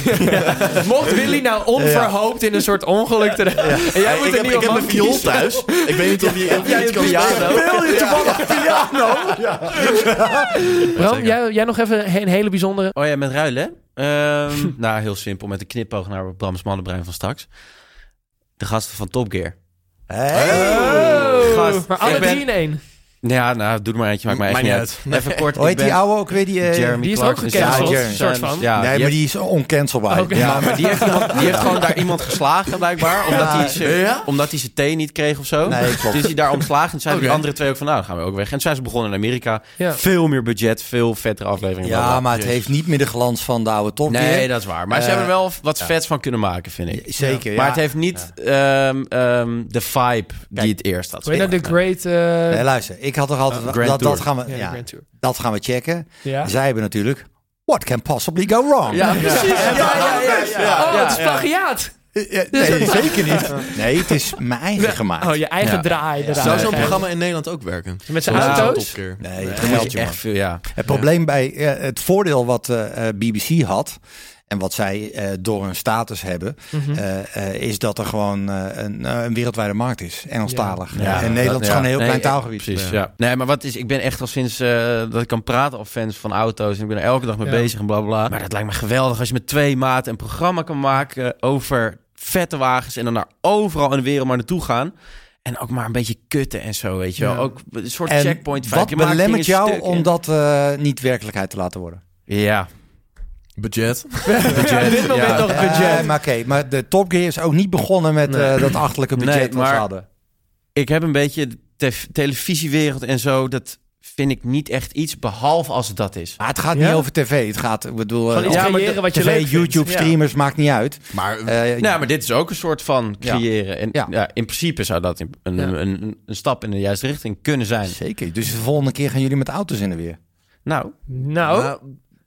[SPEAKER 6] Mocht Willy nou onverhoopt in een soort ongeluk terecht... [LAUGHS] En jij
[SPEAKER 8] Hey,
[SPEAKER 6] moet
[SPEAKER 8] ik
[SPEAKER 6] een
[SPEAKER 8] heb,
[SPEAKER 6] nieuwe
[SPEAKER 8] ik heb
[SPEAKER 6] man
[SPEAKER 8] een viool
[SPEAKER 6] kiezen. [LAUGHS]
[SPEAKER 8] thuis. Ik weet niet of die of die iets kan
[SPEAKER 7] [LAUGHS]
[SPEAKER 8] spelen.
[SPEAKER 7] Wil je toevallig piano?
[SPEAKER 6] Bram, jij, jij nog even een hele bijzondere...
[SPEAKER 4] Oh ja, met ruilen. hè? [LAUGHS] Ehm, nou, heel simpel. Met een knipoog naar Brams mannenbrein van straks. De gasten van Top Gear.
[SPEAKER 6] Oh,
[SPEAKER 4] Gast,
[SPEAKER 6] maar alle
[SPEAKER 4] ik ben-
[SPEAKER 6] drie in één.
[SPEAKER 4] Ja, nou, doe er maar eentje. Maakt mij echt
[SPEAKER 8] Maakt
[SPEAKER 4] niet
[SPEAKER 8] niet
[SPEAKER 4] uit.
[SPEAKER 8] uit. Nee.
[SPEAKER 4] Even kort.
[SPEAKER 7] Hoe
[SPEAKER 4] ik
[SPEAKER 7] heet
[SPEAKER 4] ben
[SPEAKER 7] die oude ook weer? Die, eh,
[SPEAKER 4] Jeremy
[SPEAKER 6] Die is ook
[SPEAKER 4] Clarkson.
[SPEAKER 6] gecanceld,
[SPEAKER 7] Ja, Jeremy.
[SPEAKER 6] soort van.
[SPEAKER 4] Ja,
[SPEAKER 7] nee,
[SPEAKER 4] die
[SPEAKER 7] maar
[SPEAKER 4] heeft-
[SPEAKER 7] die is oncancelbaar.
[SPEAKER 6] Oké.
[SPEAKER 4] Ja, maar die heeft, iemand, die heeft gewoon daar iemand geslagen, blijkbaar. Omdat hij ze-
[SPEAKER 8] Ja?
[SPEAKER 4] omdat hij zijn thee niet kreeg of zo.
[SPEAKER 7] Nee, klopt.
[SPEAKER 4] Dus is hij daar ontslagen. En zijn die
[SPEAKER 8] Oké.
[SPEAKER 4] andere twee ook van, nou, dan gaan we ook weg. En toen zijn ze begonnen in Amerika.
[SPEAKER 6] Ja.
[SPEAKER 4] Veel meer budget, veel vettere afleveringen. bla,
[SPEAKER 7] Ja,
[SPEAKER 4] bla.
[SPEAKER 7] maar het
[SPEAKER 4] Jezus.
[SPEAKER 7] heeft niet meer de glans van de oude top.
[SPEAKER 4] Nee,
[SPEAKER 7] Gear.
[SPEAKER 4] dat is waar. Maar ze
[SPEAKER 7] Eh,
[SPEAKER 4] hebben er wel wat vets van kunnen maken, vind ik.
[SPEAKER 7] Zeker, ja.
[SPEAKER 4] Maar het heeft niet ehm, ehm, de vibe die het eerst had.
[SPEAKER 6] Hoe heet nou de Great... eh,
[SPEAKER 7] Nee, luister, ik had toch altijd...
[SPEAKER 4] Eh, Grand
[SPEAKER 7] dat,
[SPEAKER 4] Tour.
[SPEAKER 7] dat, gaan we,
[SPEAKER 6] ja, de
[SPEAKER 7] ja,
[SPEAKER 6] Grand Tour.
[SPEAKER 7] dat gaan we checken.
[SPEAKER 6] Ja.
[SPEAKER 7] Zij hebben natuurlijk... What can possibly go wrong?
[SPEAKER 4] Ja, precies.
[SPEAKER 6] Ja, ja, ja,
[SPEAKER 8] ja.
[SPEAKER 6] Oh, het is plagiaat.
[SPEAKER 7] Ja, Eh,
[SPEAKER 4] [LAUGHS]
[SPEAKER 7] nee, [LAUGHS] zeker niet. Nee, het is mijn eigen gemaakt.
[SPEAKER 6] Oh, je eigen
[SPEAKER 4] Ja.
[SPEAKER 6] draai. draai.
[SPEAKER 8] Zou zo'n
[SPEAKER 6] Ja.
[SPEAKER 8] programma in Nederland ook werken?
[SPEAKER 6] Met zijn
[SPEAKER 4] Ja.
[SPEAKER 6] auto's?
[SPEAKER 7] Nee, het
[SPEAKER 4] Dan moet
[SPEAKER 7] geldt
[SPEAKER 4] je
[SPEAKER 7] je
[SPEAKER 4] echt veel, ja.
[SPEAKER 7] Het probleem bij eh, het voordeel wat eh, eh, BBC had. En wat zij eh, door hun status hebben,
[SPEAKER 6] Mhm.
[SPEAKER 4] Hm.
[SPEAKER 7] eh, eh, is dat er gewoon eh, een, eh, een wereldwijde markt is. Engelstalig.
[SPEAKER 4] Ja,
[SPEAKER 7] en Nederland
[SPEAKER 4] dat-
[SPEAKER 7] is gewoon een heel
[SPEAKER 4] ja.
[SPEAKER 7] klein
[SPEAKER 4] Nee, eh,
[SPEAKER 7] taalgebied.
[SPEAKER 4] Precies, ja. Nee, maar wat is, ik ben echt al sinds eh, dat ik kan praten al fans van auto's. En ik ben er elke dag mee
[SPEAKER 6] Ja.
[SPEAKER 4] bezig en bla bla, bla. Maar dat lijkt me geweldig als je met twee maten een programma kan maken over vette wagens. En dan naar overal in de wereld maar naartoe gaan. En ook maar een beetje kutten en zo, weet je wel.
[SPEAKER 6] Ja.
[SPEAKER 4] Ook een soort
[SPEAKER 7] En
[SPEAKER 4] checkpoint. vibe.
[SPEAKER 7] wat
[SPEAKER 4] Je maakt
[SPEAKER 7] belemmert
[SPEAKER 4] dingen
[SPEAKER 7] jou
[SPEAKER 4] stuk en-
[SPEAKER 7] om dat eh, niet werkelijkheid te laten worden?
[SPEAKER 4] Ja.
[SPEAKER 8] Budget.
[SPEAKER 4] budget.
[SPEAKER 6] dit moment
[SPEAKER 4] Ja.
[SPEAKER 6] nog budget.
[SPEAKER 7] Eh, maar oké, maar de Top Gear is ook niet begonnen met
[SPEAKER 4] Nee.
[SPEAKER 7] eh, dat achterlijke budget
[SPEAKER 4] Nee,
[SPEAKER 7] wat
[SPEAKER 4] maar-
[SPEAKER 7] ze hadden.
[SPEAKER 4] Ik heb een beetje de tef- televisiewereld en zo. Dat vind ik niet echt iets, behalve als het dat is.
[SPEAKER 7] Maar het gaat
[SPEAKER 6] Ja?
[SPEAKER 7] niet over tv. Het gaat, ik bedoel,
[SPEAKER 6] Gewoon
[SPEAKER 7] eh,
[SPEAKER 6] iets
[SPEAKER 7] ja,
[SPEAKER 6] creëren wat je leuk
[SPEAKER 7] tv,
[SPEAKER 6] vindt.
[SPEAKER 7] YouTube,
[SPEAKER 6] Ja.
[SPEAKER 7] streamers, maakt niet uit.
[SPEAKER 8] Maar
[SPEAKER 7] Eh,
[SPEAKER 4] Nou, maar dit is ook een soort van
[SPEAKER 7] Ja.
[SPEAKER 4] creëren. En ja.
[SPEAKER 7] Ja.
[SPEAKER 4] in principe zou dat een, een,
[SPEAKER 6] Ja.
[SPEAKER 4] een, een stap in de juiste richting kunnen zijn.
[SPEAKER 7] Zeker. Dus de volgende keer gaan jullie met auto's in de weer.
[SPEAKER 4] Nou,
[SPEAKER 6] Nou,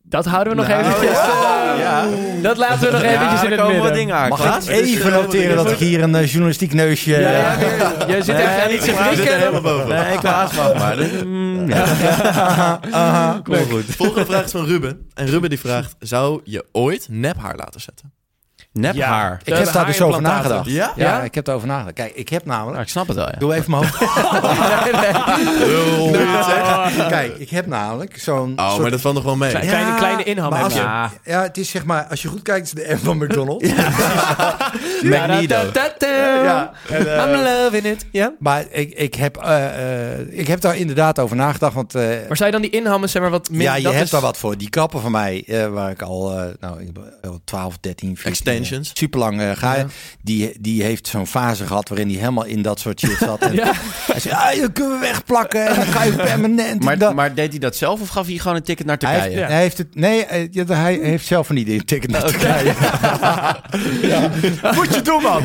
[SPEAKER 6] dat houden we nog even
[SPEAKER 4] nou,
[SPEAKER 6] vast.
[SPEAKER 4] [LAUGHS] ja. Ja.
[SPEAKER 6] Dat laten we nog
[SPEAKER 4] Ja,
[SPEAKER 6] eventjes
[SPEAKER 4] daar
[SPEAKER 6] in het
[SPEAKER 4] komen
[SPEAKER 6] midden.
[SPEAKER 4] wat dingen aan.
[SPEAKER 7] Mag
[SPEAKER 4] Klaas?
[SPEAKER 7] ik even noteren dat ik hier een eh, journalistiek neusje...
[SPEAKER 6] dus, Ja, ja,
[SPEAKER 7] eh,
[SPEAKER 6] weer- Jij zit
[SPEAKER 4] Nee,
[SPEAKER 6] echt aan
[SPEAKER 4] ik
[SPEAKER 6] iets te
[SPEAKER 4] zit er
[SPEAKER 6] frikken.
[SPEAKER 4] Nee, Klaas, wacht maar. Dat- mm, ja. [LAUGHS]
[SPEAKER 8] Kom goed. Volgende vraag is van Ruben. En Ruben die vraagt, zou je ooit nep haar laten zetten?
[SPEAKER 4] Nep
[SPEAKER 6] Ja.
[SPEAKER 4] haar.
[SPEAKER 7] Ik heb daar dus over
[SPEAKER 6] Haarimplantaten.
[SPEAKER 7] nagedacht.
[SPEAKER 8] Ja?
[SPEAKER 7] Ja,
[SPEAKER 6] Ja? Oh,
[SPEAKER 7] ik heb daarover nagedacht. Kijk, ik heb
[SPEAKER 4] Nou,
[SPEAKER 7] namelijk...
[SPEAKER 4] ik snap het wel, ja.
[SPEAKER 7] Doe even mijn
[SPEAKER 6] [LAUGHS]
[SPEAKER 7] hoofd.
[SPEAKER 8] Lul.
[SPEAKER 7] Kijk, ik heb namelijk zo'n...
[SPEAKER 8] Oh, maar
[SPEAKER 7] soort-
[SPEAKER 8] dat valt nog wel mee.
[SPEAKER 6] Kleine- kleine- kleine inham
[SPEAKER 7] maar
[SPEAKER 6] heb
[SPEAKER 7] als
[SPEAKER 6] je.
[SPEAKER 7] je- Ja, het is zeg maar... Als je goed kijkt, is de M van McDonald's.
[SPEAKER 4] Magneto.
[SPEAKER 6] Ja. I'm loving it. Ja?
[SPEAKER 7] Maar ik, ik, heb, eh, eh, ik heb daar inderdaad over nagedacht. Want eh,
[SPEAKER 6] Maar zou je dan die inhammen zeg maar wat minder...
[SPEAKER 7] ja, je
[SPEAKER 6] dat
[SPEAKER 7] hebt
[SPEAKER 6] is-
[SPEAKER 7] daar wat voor. Die kappen van mij, eh, waar ik al eh, nou, ik ben al 12, 13, 14...
[SPEAKER 8] Extensions.
[SPEAKER 7] Super lang eh, ga. Die, die heeft zo'n fase gehad waarin hij helemaal in dat soort shit zat. En
[SPEAKER 6] [LAUGHS] Ja.
[SPEAKER 7] Hij zei, ah, dat kunnen we wegplakken en dan
[SPEAKER 6] [LAUGHS]
[SPEAKER 7] kan je permanent... en
[SPEAKER 4] Maar,
[SPEAKER 7] dat.
[SPEAKER 4] maar deed hij dat zelf of gaf hij gewoon een ticket naar
[SPEAKER 7] hij,
[SPEAKER 4] Turkije?
[SPEAKER 7] heeft, hij heeft het... Nee, eh, ja, hij heeft zelf niet in ticket naar [LAUGHS] Turkije. Moet je doen, man!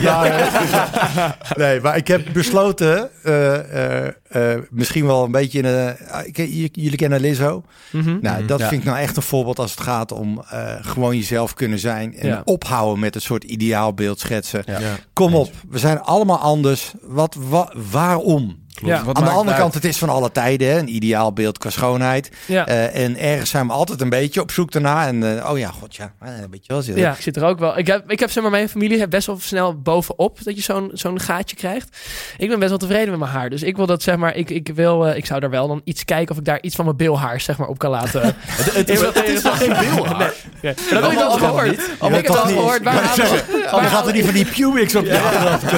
[SPEAKER 7] nee, maar ik heb besloten... eh, eh, eh, misschien wel een beetje... In, eh, ik- j- jullie kennen Lizzo.
[SPEAKER 6] Mhm.
[SPEAKER 7] Nou, dat
[SPEAKER 4] Mhm. Ja.
[SPEAKER 7] vind ik nou echt een voorbeeld als het gaat om... eh, gewoon jezelf kunnen zijn en
[SPEAKER 6] Ja.
[SPEAKER 7] ophouden met een soort ideaalbeeld schetsen.
[SPEAKER 4] Ja.
[SPEAKER 7] Kom op, we zijn allemaal anders. Wat, wa- waarom?
[SPEAKER 6] Ja.
[SPEAKER 4] Wat
[SPEAKER 7] Aan de
[SPEAKER 4] maakt
[SPEAKER 7] andere
[SPEAKER 4] het
[SPEAKER 7] kant, het is van alle tijden hè, een ideaal beeld qua schoonheid.
[SPEAKER 6] Ja.
[SPEAKER 7] Eh, en ergens zijn we altijd een beetje op zoek daarna. En eh, oh ja, god ja, eh, een beetje wel zitten.
[SPEAKER 6] Ja, ik zit er ook wel. Ik heb, ik heb zeg maar, mijn familie heeft best wel snel bovenop dat je zo'n zo'n gaatje krijgt. Ik ben best wel tevreden met mijn haar. Dus ik wil dat, zeg maar, ik, ik wil, eh, ik zou daar wel dan iets kijken of ik daar iets van mijn bilhaar, zeg maar, op kan
[SPEAKER 8] [LAUGHS]
[SPEAKER 6] laten.
[SPEAKER 8] Het, het is, het is nog geen bilhaar.
[SPEAKER 6] Ja. Dat heb ik wel eens gehoord.
[SPEAKER 7] Ja,
[SPEAKER 6] Ik heb het
[SPEAKER 7] toch
[SPEAKER 6] al
[SPEAKER 7] niet.
[SPEAKER 6] gehoord. Waar
[SPEAKER 7] Ik wou
[SPEAKER 6] halen ze-
[SPEAKER 7] Oh, dan gaat er niet van die pubics op je achterhoofd, eh.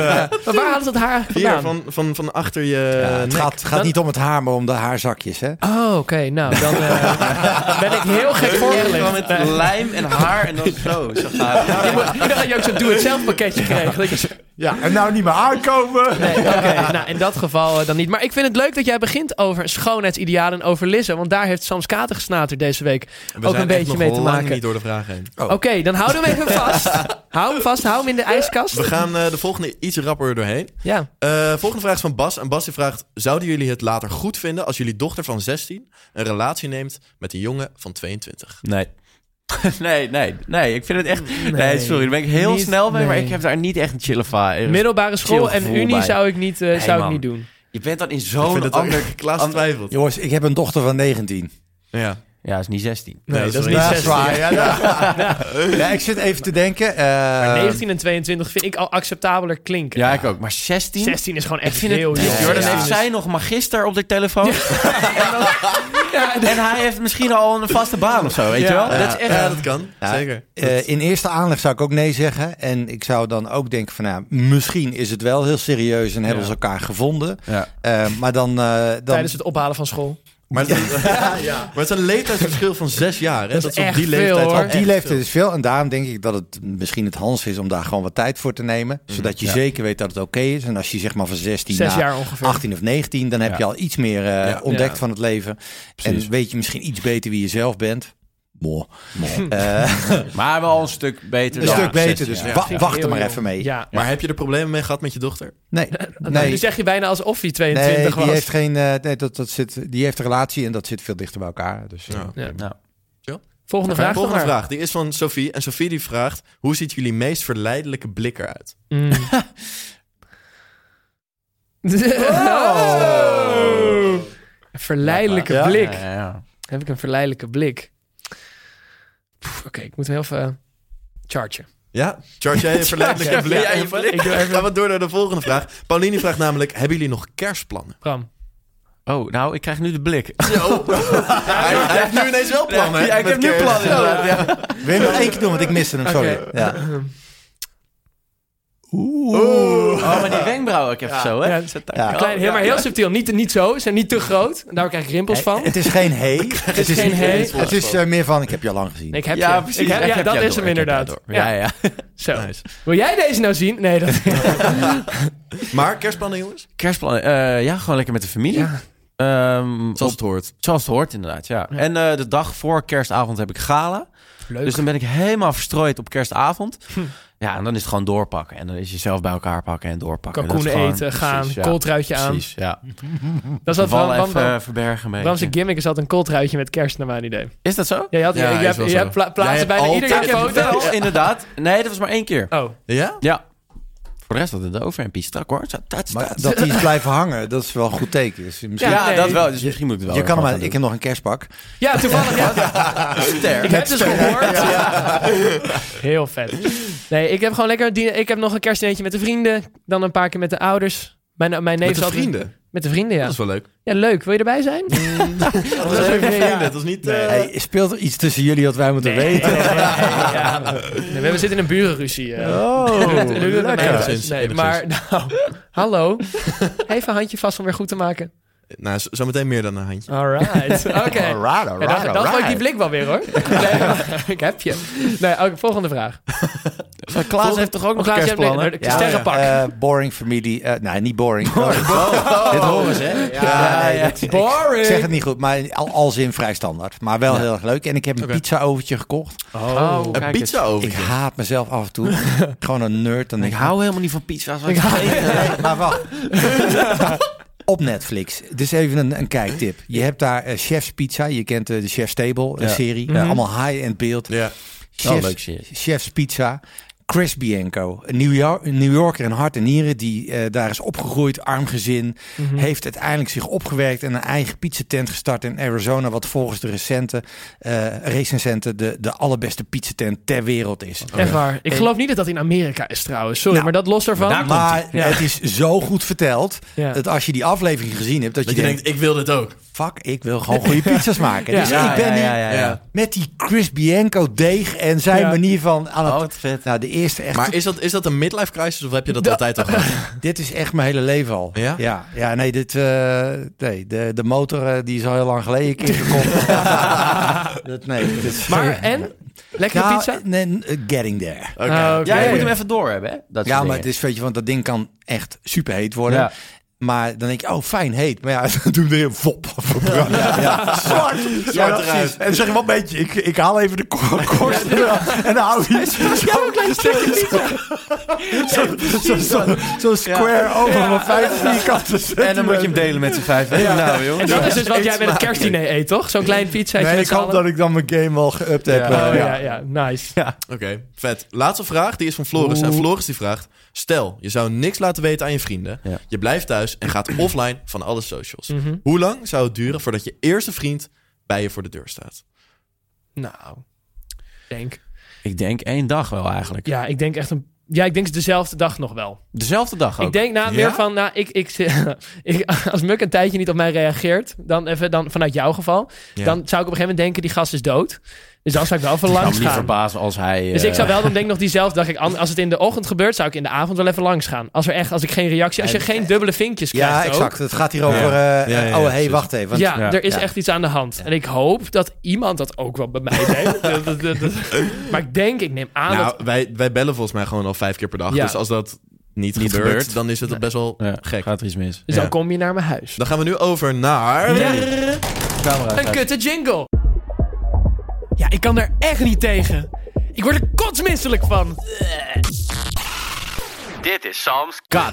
[SPEAKER 6] Maar waar halen ze dat haar eigenlijk
[SPEAKER 8] Hier,
[SPEAKER 6] vandaan?
[SPEAKER 8] van, van, van achter je
[SPEAKER 7] Ja, Eh, het
[SPEAKER 8] nek.
[SPEAKER 7] gaat, gaat niet om het haar, maar om de haarzakjes. Hè?
[SPEAKER 6] Oh, oké. Nou, dan
[SPEAKER 8] [LAUGHS]
[SPEAKER 6] eh, ben ik heel gek
[SPEAKER 4] Gewoon
[SPEAKER 6] voorgelegd.
[SPEAKER 4] met lijm en haar en dan zo. Zo gaat
[SPEAKER 7] [LAUGHS]
[SPEAKER 4] het.
[SPEAKER 6] Ik dacht dat je ook zo'n doe-het-zelf pakketje kreeg. Dat je zo-
[SPEAKER 7] Ja, en nou niet meer aankomen.
[SPEAKER 6] Nee, oké. Nou, in dat geval eh, dan niet. Maar ik vind het leuk dat jij begint over schoonheidsidealen en over Lisse. Want daar heeft Sams Kater gesnater deze week
[SPEAKER 8] We zijn
[SPEAKER 6] ook een
[SPEAKER 8] echt
[SPEAKER 6] beetje
[SPEAKER 8] nog
[SPEAKER 6] mee te
[SPEAKER 8] lang
[SPEAKER 6] maken.
[SPEAKER 8] niet door de vraag heen.
[SPEAKER 6] Oké, dan houden we hem even vast. hou hem vast, hou hem in de ijskast.
[SPEAKER 8] We gaan eh, de volgende iets rapper doorheen.
[SPEAKER 6] Ja.
[SPEAKER 8] Eh, volgende vraag is van Bas. En Bas die vraagt... Zouden jullie het later goed vinden als jullie dochter van 16... een relatie neemt met een jongen van 22?
[SPEAKER 4] Nee. [LAUGHS] nee, nee, nee. Ik vind het echt... Nee, sorry. Daar ben ik heel
[SPEAKER 6] Niet-
[SPEAKER 4] snel mee, maar
[SPEAKER 6] nee.
[SPEAKER 4] ik heb daar niet echt een chille vibe.
[SPEAKER 6] Middelbare school
[SPEAKER 4] Chill
[SPEAKER 6] en
[SPEAKER 4] gevoel
[SPEAKER 6] unie
[SPEAKER 4] bij.
[SPEAKER 6] zou ik niet, eh,
[SPEAKER 4] Nee,
[SPEAKER 6] zou ik
[SPEAKER 4] man.
[SPEAKER 6] niet doen.
[SPEAKER 4] Je bent dan in
[SPEAKER 8] ik vind
[SPEAKER 4] zo'n
[SPEAKER 8] het ook-
[SPEAKER 4] ander...
[SPEAKER 8] [LAUGHS] Klaas
[SPEAKER 4] ander-
[SPEAKER 8] twijfelt.
[SPEAKER 7] Jongens, ik heb een dochter van 19.
[SPEAKER 8] Ja.
[SPEAKER 4] Ja, is niet 16.
[SPEAKER 8] Nee, dat is niet
[SPEAKER 7] Ja,
[SPEAKER 8] 16.
[SPEAKER 7] zwaar, ja, [LAUGHS] ja. Ja, ik zit even te denken. eh,
[SPEAKER 6] 19 en 22 vind ik al acceptabeler klinken.
[SPEAKER 4] Ja, ik ook. Maar 16?
[SPEAKER 6] 16 is gewoon echt
[SPEAKER 4] Ik vind
[SPEAKER 6] heel
[SPEAKER 4] het dik,
[SPEAKER 6] jong.
[SPEAKER 4] hoor. Dan
[SPEAKER 7] Ja.
[SPEAKER 4] heeft zij nog magister op de telefoon. en dan, En hij heeft misschien al een vaste baan of zo, Oh, weet je wel?
[SPEAKER 8] Ja,
[SPEAKER 4] Dat is echt...
[SPEAKER 8] ja, dat kan. Zeker.
[SPEAKER 7] Eh, in eerste aanleg zou ik ook nee zeggen. En ik zou dan ook denken van, nou, misschien is het wel heel serieus en hebben ze elkaar gevonden.
[SPEAKER 4] Ja.
[SPEAKER 7] Eh, maar dan... eh, dan
[SPEAKER 6] Tijdens het ophalen van school.
[SPEAKER 8] Maar het, maar het is [LAUGHS] een leeftijdsverschil van zes jaar. Hè? Dat,
[SPEAKER 6] is
[SPEAKER 8] is op
[SPEAKER 6] echt
[SPEAKER 8] die
[SPEAKER 6] veel,
[SPEAKER 8] leeftijd
[SPEAKER 6] hoor.
[SPEAKER 8] al
[SPEAKER 7] op
[SPEAKER 8] echt
[SPEAKER 7] die leeftijd is veel. En daarom denk ik dat het misschien het Hans is om daar gewoon wat tijd voor te nemen. Zodat je zeker weet dat het oké is. En als je zeg maar van 16
[SPEAKER 6] Zes
[SPEAKER 7] naar
[SPEAKER 6] jaar ongeveer.
[SPEAKER 7] 18 of 19, dan heb
[SPEAKER 4] Ja.
[SPEAKER 7] je al iets meer eh,
[SPEAKER 8] Ja.
[SPEAKER 7] ontdekt
[SPEAKER 6] Ja.
[SPEAKER 7] van het leven.
[SPEAKER 4] Precies.
[SPEAKER 7] En weet je misschien iets beter wie je zelf bent. Mooi.
[SPEAKER 4] Maar wel een stuk beter
[SPEAKER 7] een
[SPEAKER 4] dan...
[SPEAKER 7] stuk beter, dus
[SPEAKER 4] Ja.
[SPEAKER 7] wa-
[SPEAKER 6] Ging
[SPEAKER 7] wacht
[SPEAKER 6] heel
[SPEAKER 7] er maar
[SPEAKER 6] jong.
[SPEAKER 7] even mee.
[SPEAKER 6] Ja.
[SPEAKER 8] Maar heb je er problemen mee gehad met je dochter?
[SPEAKER 7] Nee,
[SPEAKER 6] Nee. Nu
[SPEAKER 7] nee.
[SPEAKER 6] zeg je bijna alsof hij
[SPEAKER 7] Nee,
[SPEAKER 6] 22
[SPEAKER 7] die
[SPEAKER 6] was.
[SPEAKER 7] heeft geen. eh, nee, dat, dat zit, die heeft een relatie en dat zit veel dichter bij elkaar. Dus, eh,
[SPEAKER 8] Ja.
[SPEAKER 6] Ja.
[SPEAKER 4] Nou.
[SPEAKER 6] Volgende vraag.
[SPEAKER 8] Volgende
[SPEAKER 6] dan maar.
[SPEAKER 8] vraag. Die is van Sophie. En Sophie die vraagt... Hoe ziet jullie meest verleidelijke blik eruit?
[SPEAKER 6] Mm. [LAUGHS] Een Verleidelijke
[SPEAKER 8] Ja.
[SPEAKER 6] blik.
[SPEAKER 4] Ja, ja.
[SPEAKER 6] Heb ik een verleidelijke blik? Poef, Oké, ik moet heel even chargen.
[SPEAKER 8] Ja? Charge jij een verleidelijke blik?
[SPEAKER 6] Ja,
[SPEAKER 8] even?
[SPEAKER 6] ik doe even-
[SPEAKER 8] Gaan we door naar de volgende vraag. Pauline vraagt namelijk... Hebben jullie nog kerstplannen?
[SPEAKER 6] Bram.
[SPEAKER 4] Oh, nou, ik krijg nu de blik.
[SPEAKER 8] Hij, hij heeft nu ineens wel plannen. hè,
[SPEAKER 4] [LAUGHS] Ja, ik
[SPEAKER 8] met
[SPEAKER 4] eh, heb nu
[SPEAKER 8] kerst.
[SPEAKER 4] plannen inderdaad. Ja.
[SPEAKER 7] Wil je nog één keer doen, want ik miste hem, sorry.
[SPEAKER 6] Oké.
[SPEAKER 7] Ja.
[SPEAKER 4] [LAUGHS] Oh, maar die wenkbrauwen ik even zo, hè?
[SPEAKER 6] Ja. Klein, heel, maar heel subtiel. Niet, niet zo. Ze zijn niet te groot. En Daar krijg ik rimpels van.
[SPEAKER 7] Eh, Het is geen hey. Het is
[SPEAKER 6] geen hey.
[SPEAKER 7] Het is eh, meer van, ik heb je al lang gezien.
[SPEAKER 6] Nee, ik heb
[SPEAKER 4] Ja,
[SPEAKER 6] je.
[SPEAKER 4] precies.
[SPEAKER 6] Ik heb-
[SPEAKER 4] Ik
[SPEAKER 6] ja,
[SPEAKER 4] heb
[SPEAKER 6] dat
[SPEAKER 4] jou
[SPEAKER 6] is
[SPEAKER 4] door,
[SPEAKER 6] hem
[SPEAKER 4] ik heb
[SPEAKER 6] inderdaad.
[SPEAKER 4] jou door. Ja,
[SPEAKER 6] Ja.
[SPEAKER 4] ja.
[SPEAKER 6] Zo.
[SPEAKER 8] Nice.
[SPEAKER 6] Wil jij deze nou zien? Nee,
[SPEAKER 4] [LAUGHS]
[SPEAKER 6] dat...
[SPEAKER 8] Maar kerstplannen, jongens?
[SPEAKER 4] Kerstplannen. eh, ja, gewoon lekker met de familie.
[SPEAKER 6] Ja.
[SPEAKER 4] Ehm,
[SPEAKER 8] Zoals
[SPEAKER 4] op-
[SPEAKER 8] het hoort.
[SPEAKER 4] zoals het hoort, inderdaad, ja. En eh, de dag voor kerstavond heb ik gala.
[SPEAKER 6] Leuk.
[SPEAKER 4] Dus dan ben ik helemaal verstrooid op kerstavond. Ja, en dan is het gewoon doorpakken. En dan is jezelf bij elkaar pakken en doorpakken. En dat is
[SPEAKER 6] Kalkoenen
[SPEAKER 4] gewoon-
[SPEAKER 6] eten,
[SPEAKER 4] [LAUGHS]
[SPEAKER 6] gaan,
[SPEAKER 4] precies, ja.
[SPEAKER 6] kooltruitje aan.
[SPEAKER 4] Precies, ja.
[SPEAKER 6] Dat is wat Bram,
[SPEAKER 4] Vallen
[SPEAKER 6] Bram,
[SPEAKER 4] even
[SPEAKER 6] Bram,
[SPEAKER 4] eh, verbergen mee.
[SPEAKER 6] Bram's gimmick is altijd een kooltruitje met kerst, naar mijn idee.
[SPEAKER 4] Is dat zo?
[SPEAKER 6] Ja, je, had,
[SPEAKER 8] Ja,
[SPEAKER 6] je,
[SPEAKER 8] is
[SPEAKER 6] hebt,
[SPEAKER 8] wel
[SPEAKER 6] je
[SPEAKER 8] zo.
[SPEAKER 6] hebt pla- plaatsen
[SPEAKER 8] Jij
[SPEAKER 6] bijna
[SPEAKER 8] hebt
[SPEAKER 6] iedereen
[SPEAKER 8] altijd
[SPEAKER 6] een foto.
[SPEAKER 4] Wel, inderdaad. Nee, dat was maar één keer.
[SPEAKER 6] Oh,
[SPEAKER 8] Ja?
[SPEAKER 4] Ja. Voor de rest had het een overhempje. Strak hoor. Zo, tats,
[SPEAKER 7] Maar
[SPEAKER 4] tats.
[SPEAKER 7] dat die is blijven hangen, dat is wel een goed teken. Dus misschien,
[SPEAKER 4] ja,
[SPEAKER 6] nee.
[SPEAKER 4] dat wel. Dus misschien moet ik het wel.
[SPEAKER 7] je kan hem
[SPEAKER 4] even
[SPEAKER 7] maar, ik heb nog een kerstpak.
[SPEAKER 6] ja, toevallig.
[SPEAKER 8] [LAUGHS]
[SPEAKER 6] Ja.
[SPEAKER 4] Ster.
[SPEAKER 6] Ik heb dus gehoord. Heel vet. Nee, ik heb gewoon lekker... dine- Ik heb nog een kerstdineetje met de vrienden. Dan een paar keer met de ouders. Mijn, mijn neef
[SPEAKER 8] Met de
[SPEAKER 6] zat er-
[SPEAKER 8] vrienden?
[SPEAKER 6] Met de vrienden, ja.
[SPEAKER 8] Dat is wel leuk.
[SPEAKER 6] Ja, leuk. Wil je erbij zijn? [LAUGHS]
[SPEAKER 8] Dat is leuk met vrienden. Dat is niet... eh,
[SPEAKER 7] Hey, speelt er iets tussen jullie wat wij moeten weten?
[SPEAKER 6] [LAUGHS] Nee, nee, nee, ja. Nee, we zitten in een burenruzie. eh. [LAUGHS]
[SPEAKER 7] Oh,
[SPEAKER 6] Doe dat- doe dat
[SPEAKER 8] lekker.
[SPEAKER 6] maar eens.
[SPEAKER 8] Enigszins,
[SPEAKER 6] Nee,
[SPEAKER 8] enigszins.
[SPEAKER 6] maar [LAUGHS] nou, hallo. Even een handje vast om weer goed te maken.
[SPEAKER 8] Nou, zo- zometeen meer dan een handje.
[SPEAKER 6] Alright. Oké.
[SPEAKER 7] Alright,
[SPEAKER 6] Ja,
[SPEAKER 7] alright,
[SPEAKER 6] dan dan gooi ik die
[SPEAKER 7] alright.
[SPEAKER 6] blik wel weer hoor. Nee, maar ik heb je. Nee, oké, volgende vraag.
[SPEAKER 4] Klaas heeft toch ook nog
[SPEAKER 6] Klaas, jij hebt-
[SPEAKER 4] kerstplannen?
[SPEAKER 6] nee, Sterrenpak.
[SPEAKER 7] Eh, boring familie. eh, nee, niet boring.
[SPEAKER 4] Dit horen ze, hè?
[SPEAKER 7] Ja, nee, dat- ik-
[SPEAKER 6] Boring.
[SPEAKER 7] Ik zeg het niet goed, maar al, al zin vrij standaard. Maar wel heel erg leuk. En ik heb een pizza overtje gekocht.
[SPEAKER 4] Oh, kijk
[SPEAKER 8] Een
[SPEAKER 4] eens.
[SPEAKER 8] pizza over.
[SPEAKER 7] Ik haat mezelf af en toe. Gewoon een nerd. Dan
[SPEAKER 4] Ik
[SPEAKER 7] denk ik,
[SPEAKER 4] hou helemaal niet van pizza's.
[SPEAKER 6] Ik hou-
[SPEAKER 7] Nee, [LAUGHS] maar wacht. Op Netflix. Dus even een, een kijktip. Je hebt daar eh, Chef's Pizza. Je kent eh, de Chef's Table eh,
[SPEAKER 4] Ja.
[SPEAKER 7] serie. Eh,
[SPEAKER 6] Mhm.
[SPEAKER 7] allemaal high-end beeld.
[SPEAKER 8] Ja.
[SPEAKER 4] Oh,
[SPEAKER 7] Chef's,
[SPEAKER 4] leuk serie.
[SPEAKER 7] Chef's Pizza. Chris Bianco, een New, York, een New Yorker in hart en nieren, die eh, daar is opgegroeid, arm gezin.
[SPEAKER 6] Mhm.
[SPEAKER 7] Heeft uiteindelijk zich opgewerkt en een eigen pizzatent gestart in Arizona. Wat volgens de recente, eh recensenten de, de allerbeste pizzatent ter wereld is.
[SPEAKER 6] Echt waar. Ik geloof niet dat dat in Amerika is trouwens. Sorry,
[SPEAKER 7] Nou,
[SPEAKER 6] maar dat los ervan.
[SPEAKER 4] maar daar-
[SPEAKER 7] Maar
[SPEAKER 6] Ja.
[SPEAKER 7] het is zo goed verteld
[SPEAKER 6] Ja.
[SPEAKER 7] dat als je die aflevering gezien hebt, dat,
[SPEAKER 8] Dat
[SPEAKER 7] je, denkt,
[SPEAKER 8] ik wil dit ook.
[SPEAKER 7] fuck, ik wil gewoon
[SPEAKER 6] [LAUGHS]
[SPEAKER 7] goede pizza's maken.
[SPEAKER 6] Ja.
[SPEAKER 7] Dus
[SPEAKER 4] Ja,
[SPEAKER 7] ik ben
[SPEAKER 4] ja,
[SPEAKER 7] nu
[SPEAKER 4] ja, ja, ja.
[SPEAKER 7] met die Chris Bianco deeg en zijn
[SPEAKER 6] Ja.
[SPEAKER 7] manier van aan het...
[SPEAKER 4] Oh, wat vet.
[SPEAKER 7] Nou, de eerste echt.
[SPEAKER 8] Maar is dat, is dat een midlife crisis of heb je dat altijd al gehad?
[SPEAKER 7] Dit is echt mijn hele leven al.
[SPEAKER 8] Ja?
[SPEAKER 7] Ja, ja, nee, dit, eh, nee de, de motor eh, die is al heel lang geleden een keer
[SPEAKER 6] [LAUGHS]
[SPEAKER 7] gekocht. dat, nee, dit is-
[SPEAKER 6] Maar en? Lekkere
[SPEAKER 7] Nou,
[SPEAKER 6] pizza?
[SPEAKER 7] nee, eh, getting there.
[SPEAKER 8] Oké.
[SPEAKER 6] Ah, oké.
[SPEAKER 4] Ja, je moet hem even door hebben, hè? Dat
[SPEAKER 7] Ja,
[SPEAKER 4] soort
[SPEAKER 7] maar het
[SPEAKER 4] dingen.
[SPEAKER 7] is, weet je, want dat ding kan echt superheet worden.
[SPEAKER 4] Ja.
[SPEAKER 7] Maar dan denk je, oh, fijn, heet. Maar ja, [LAUGHS] toen weer een vop. verbrand. Ja. Zwart.
[SPEAKER 8] Zwart
[SPEAKER 7] precies.
[SPEAKER 8] eruit.
[SPEAKER 7] En dan zeg je, wat weet je, ik, ik haal even de ko- korst eraf en dan hou je iets. Zo'n [LAUGHS] klein Zo'n zo'n square over van vijf vierkante
[SPEAKER 4] En dan moet je hem delen met z'n vijf. Nou, joh.
[SPEAKER 6] En dat is dus wat jij bij het kerstdiner eet, toch? Zo'n klein pizzaatje
[SPEAKER 7] Nee,
[SPEAKER 6] met
[SPEAKER 7] ik
[SPEAKER 6] z'n
[SPEAKER 7] hoop
[SPEAKER 6] allen.
[SPEAKER 7] dat ik dan mijn game wel geüpt heb.
[SPEAKER 4] Ja.
[SPEAKER 7] eh,
[SPEAKER 6] Oh
[SPEAKER 7] ja.
[SPEAKER 6] ja, ja. Nice.
[SPEAKER 8] Oké, vet. Laatste vraag, die is van Floris. En Floris die vraagt... Stel, je zou niks laten weten aan je vrienden.
[SPEAKER 4] Ja.
[SPEAKER 8] Je blijft thuis en gaat [CLEARS THROAT] offline van alle socials.
[SPEAKER 6] Mhm.
[SPEAKER 8] Hoe lang zou het duren voordat je eerste vriend bij je voor de deur staat?
[SPEAKER 6] Nou, denk.
[SPEAKER 4] Ik denk één dag wel eigenlijk.
[SPEAKER 6] Ja, ik denk echt een Ja, ik denk dezelfde dag nog wel.
[SPEAKER 4] Dezelfde dag ook.
[SPEAKER 6] Ik denk nou, meer van, nou, ik, [LAUGHS] ik, ik- als Muk een tijdje niet op mij reageert, dan even dan, vanuit jouw geval,
[SPEAKER 8] Ja.
[SPEAKER 6] dan zou ik op een gegeven moment denken, die gast is dood. Dus dan zou ik wel even
[SPEAKER 4] Ik zou
[SPEAKER 6] langs
[SPEAKER 4] me niet
[SPEAKER 6] gaan.
[SPEAKER 4] verbazen als hij...
[SPEAKER 6] Dus
[SPEAKER 4] eh,
[SPEAKER 6] ik zou wel dan denk ik nog diezelfde dag, ik, an- als het in de ochtend gebeurt, zou ik in de avond wel even langs gaan. Als er echt, als ik geen reactie, als je geen dubbele vinkjes
[SPEAKER 7] Ja,
[SPEAKER 6] krijgt ook.
[SPEAKER 7] exact. Het gaat hier over...
[SPEAKER 8] ja,
[SPEAKER 7] eh
[SPEAKER 8] ja,
[SPEAKER 7] oh, hé,
[SPEAKER 8] precies.
[SPEAKER 7] wacht even. want-
[SPEAKER 6] ja,
[SPEAKER 4] ja,
[SPEAKER 6] er is
[SPEAKER 7] ja.
[SPEAKER 6] echt iets aan de hand. En ik hoop dat iemand dat ook wel bij mij deed. Dat- dat- dat- dat- maar ik denk, ik neem aan dat...
[SPEAKER 8] Nou, wij, wij bellen volgens mij gewoon al vijf keer per dag.
[SPEAKER 6] Ja.
[SPEAKER 8] Dus als dat niet,
[SPEAKER 4] Niet
[SPEAKER 8] gebeurt,
[SPEAKER 4] gebeurt.
[SPEAKER 8] dan is het best wel
[SPEAKER 4] ja,
[SPEAKER 8] gek.
[SPEAKER 4] Gaat er iets mis.
[SPEAKER 6] Dus
[SPEAKER 8] ja.
[SPEAKER 6] dan kom je naar mijn huis.
[SPEAKER 8] Dan gaan we nu over naar...
[SPEAKER 4] Camera
[SPEAKER 6] Een kutte jingle. Ja, ik kan er echt niet tegen. Ik word er kotsmisselijk van.
[SPEAKER 3] Dit is Sam's
[SPEAKER 6] Ah.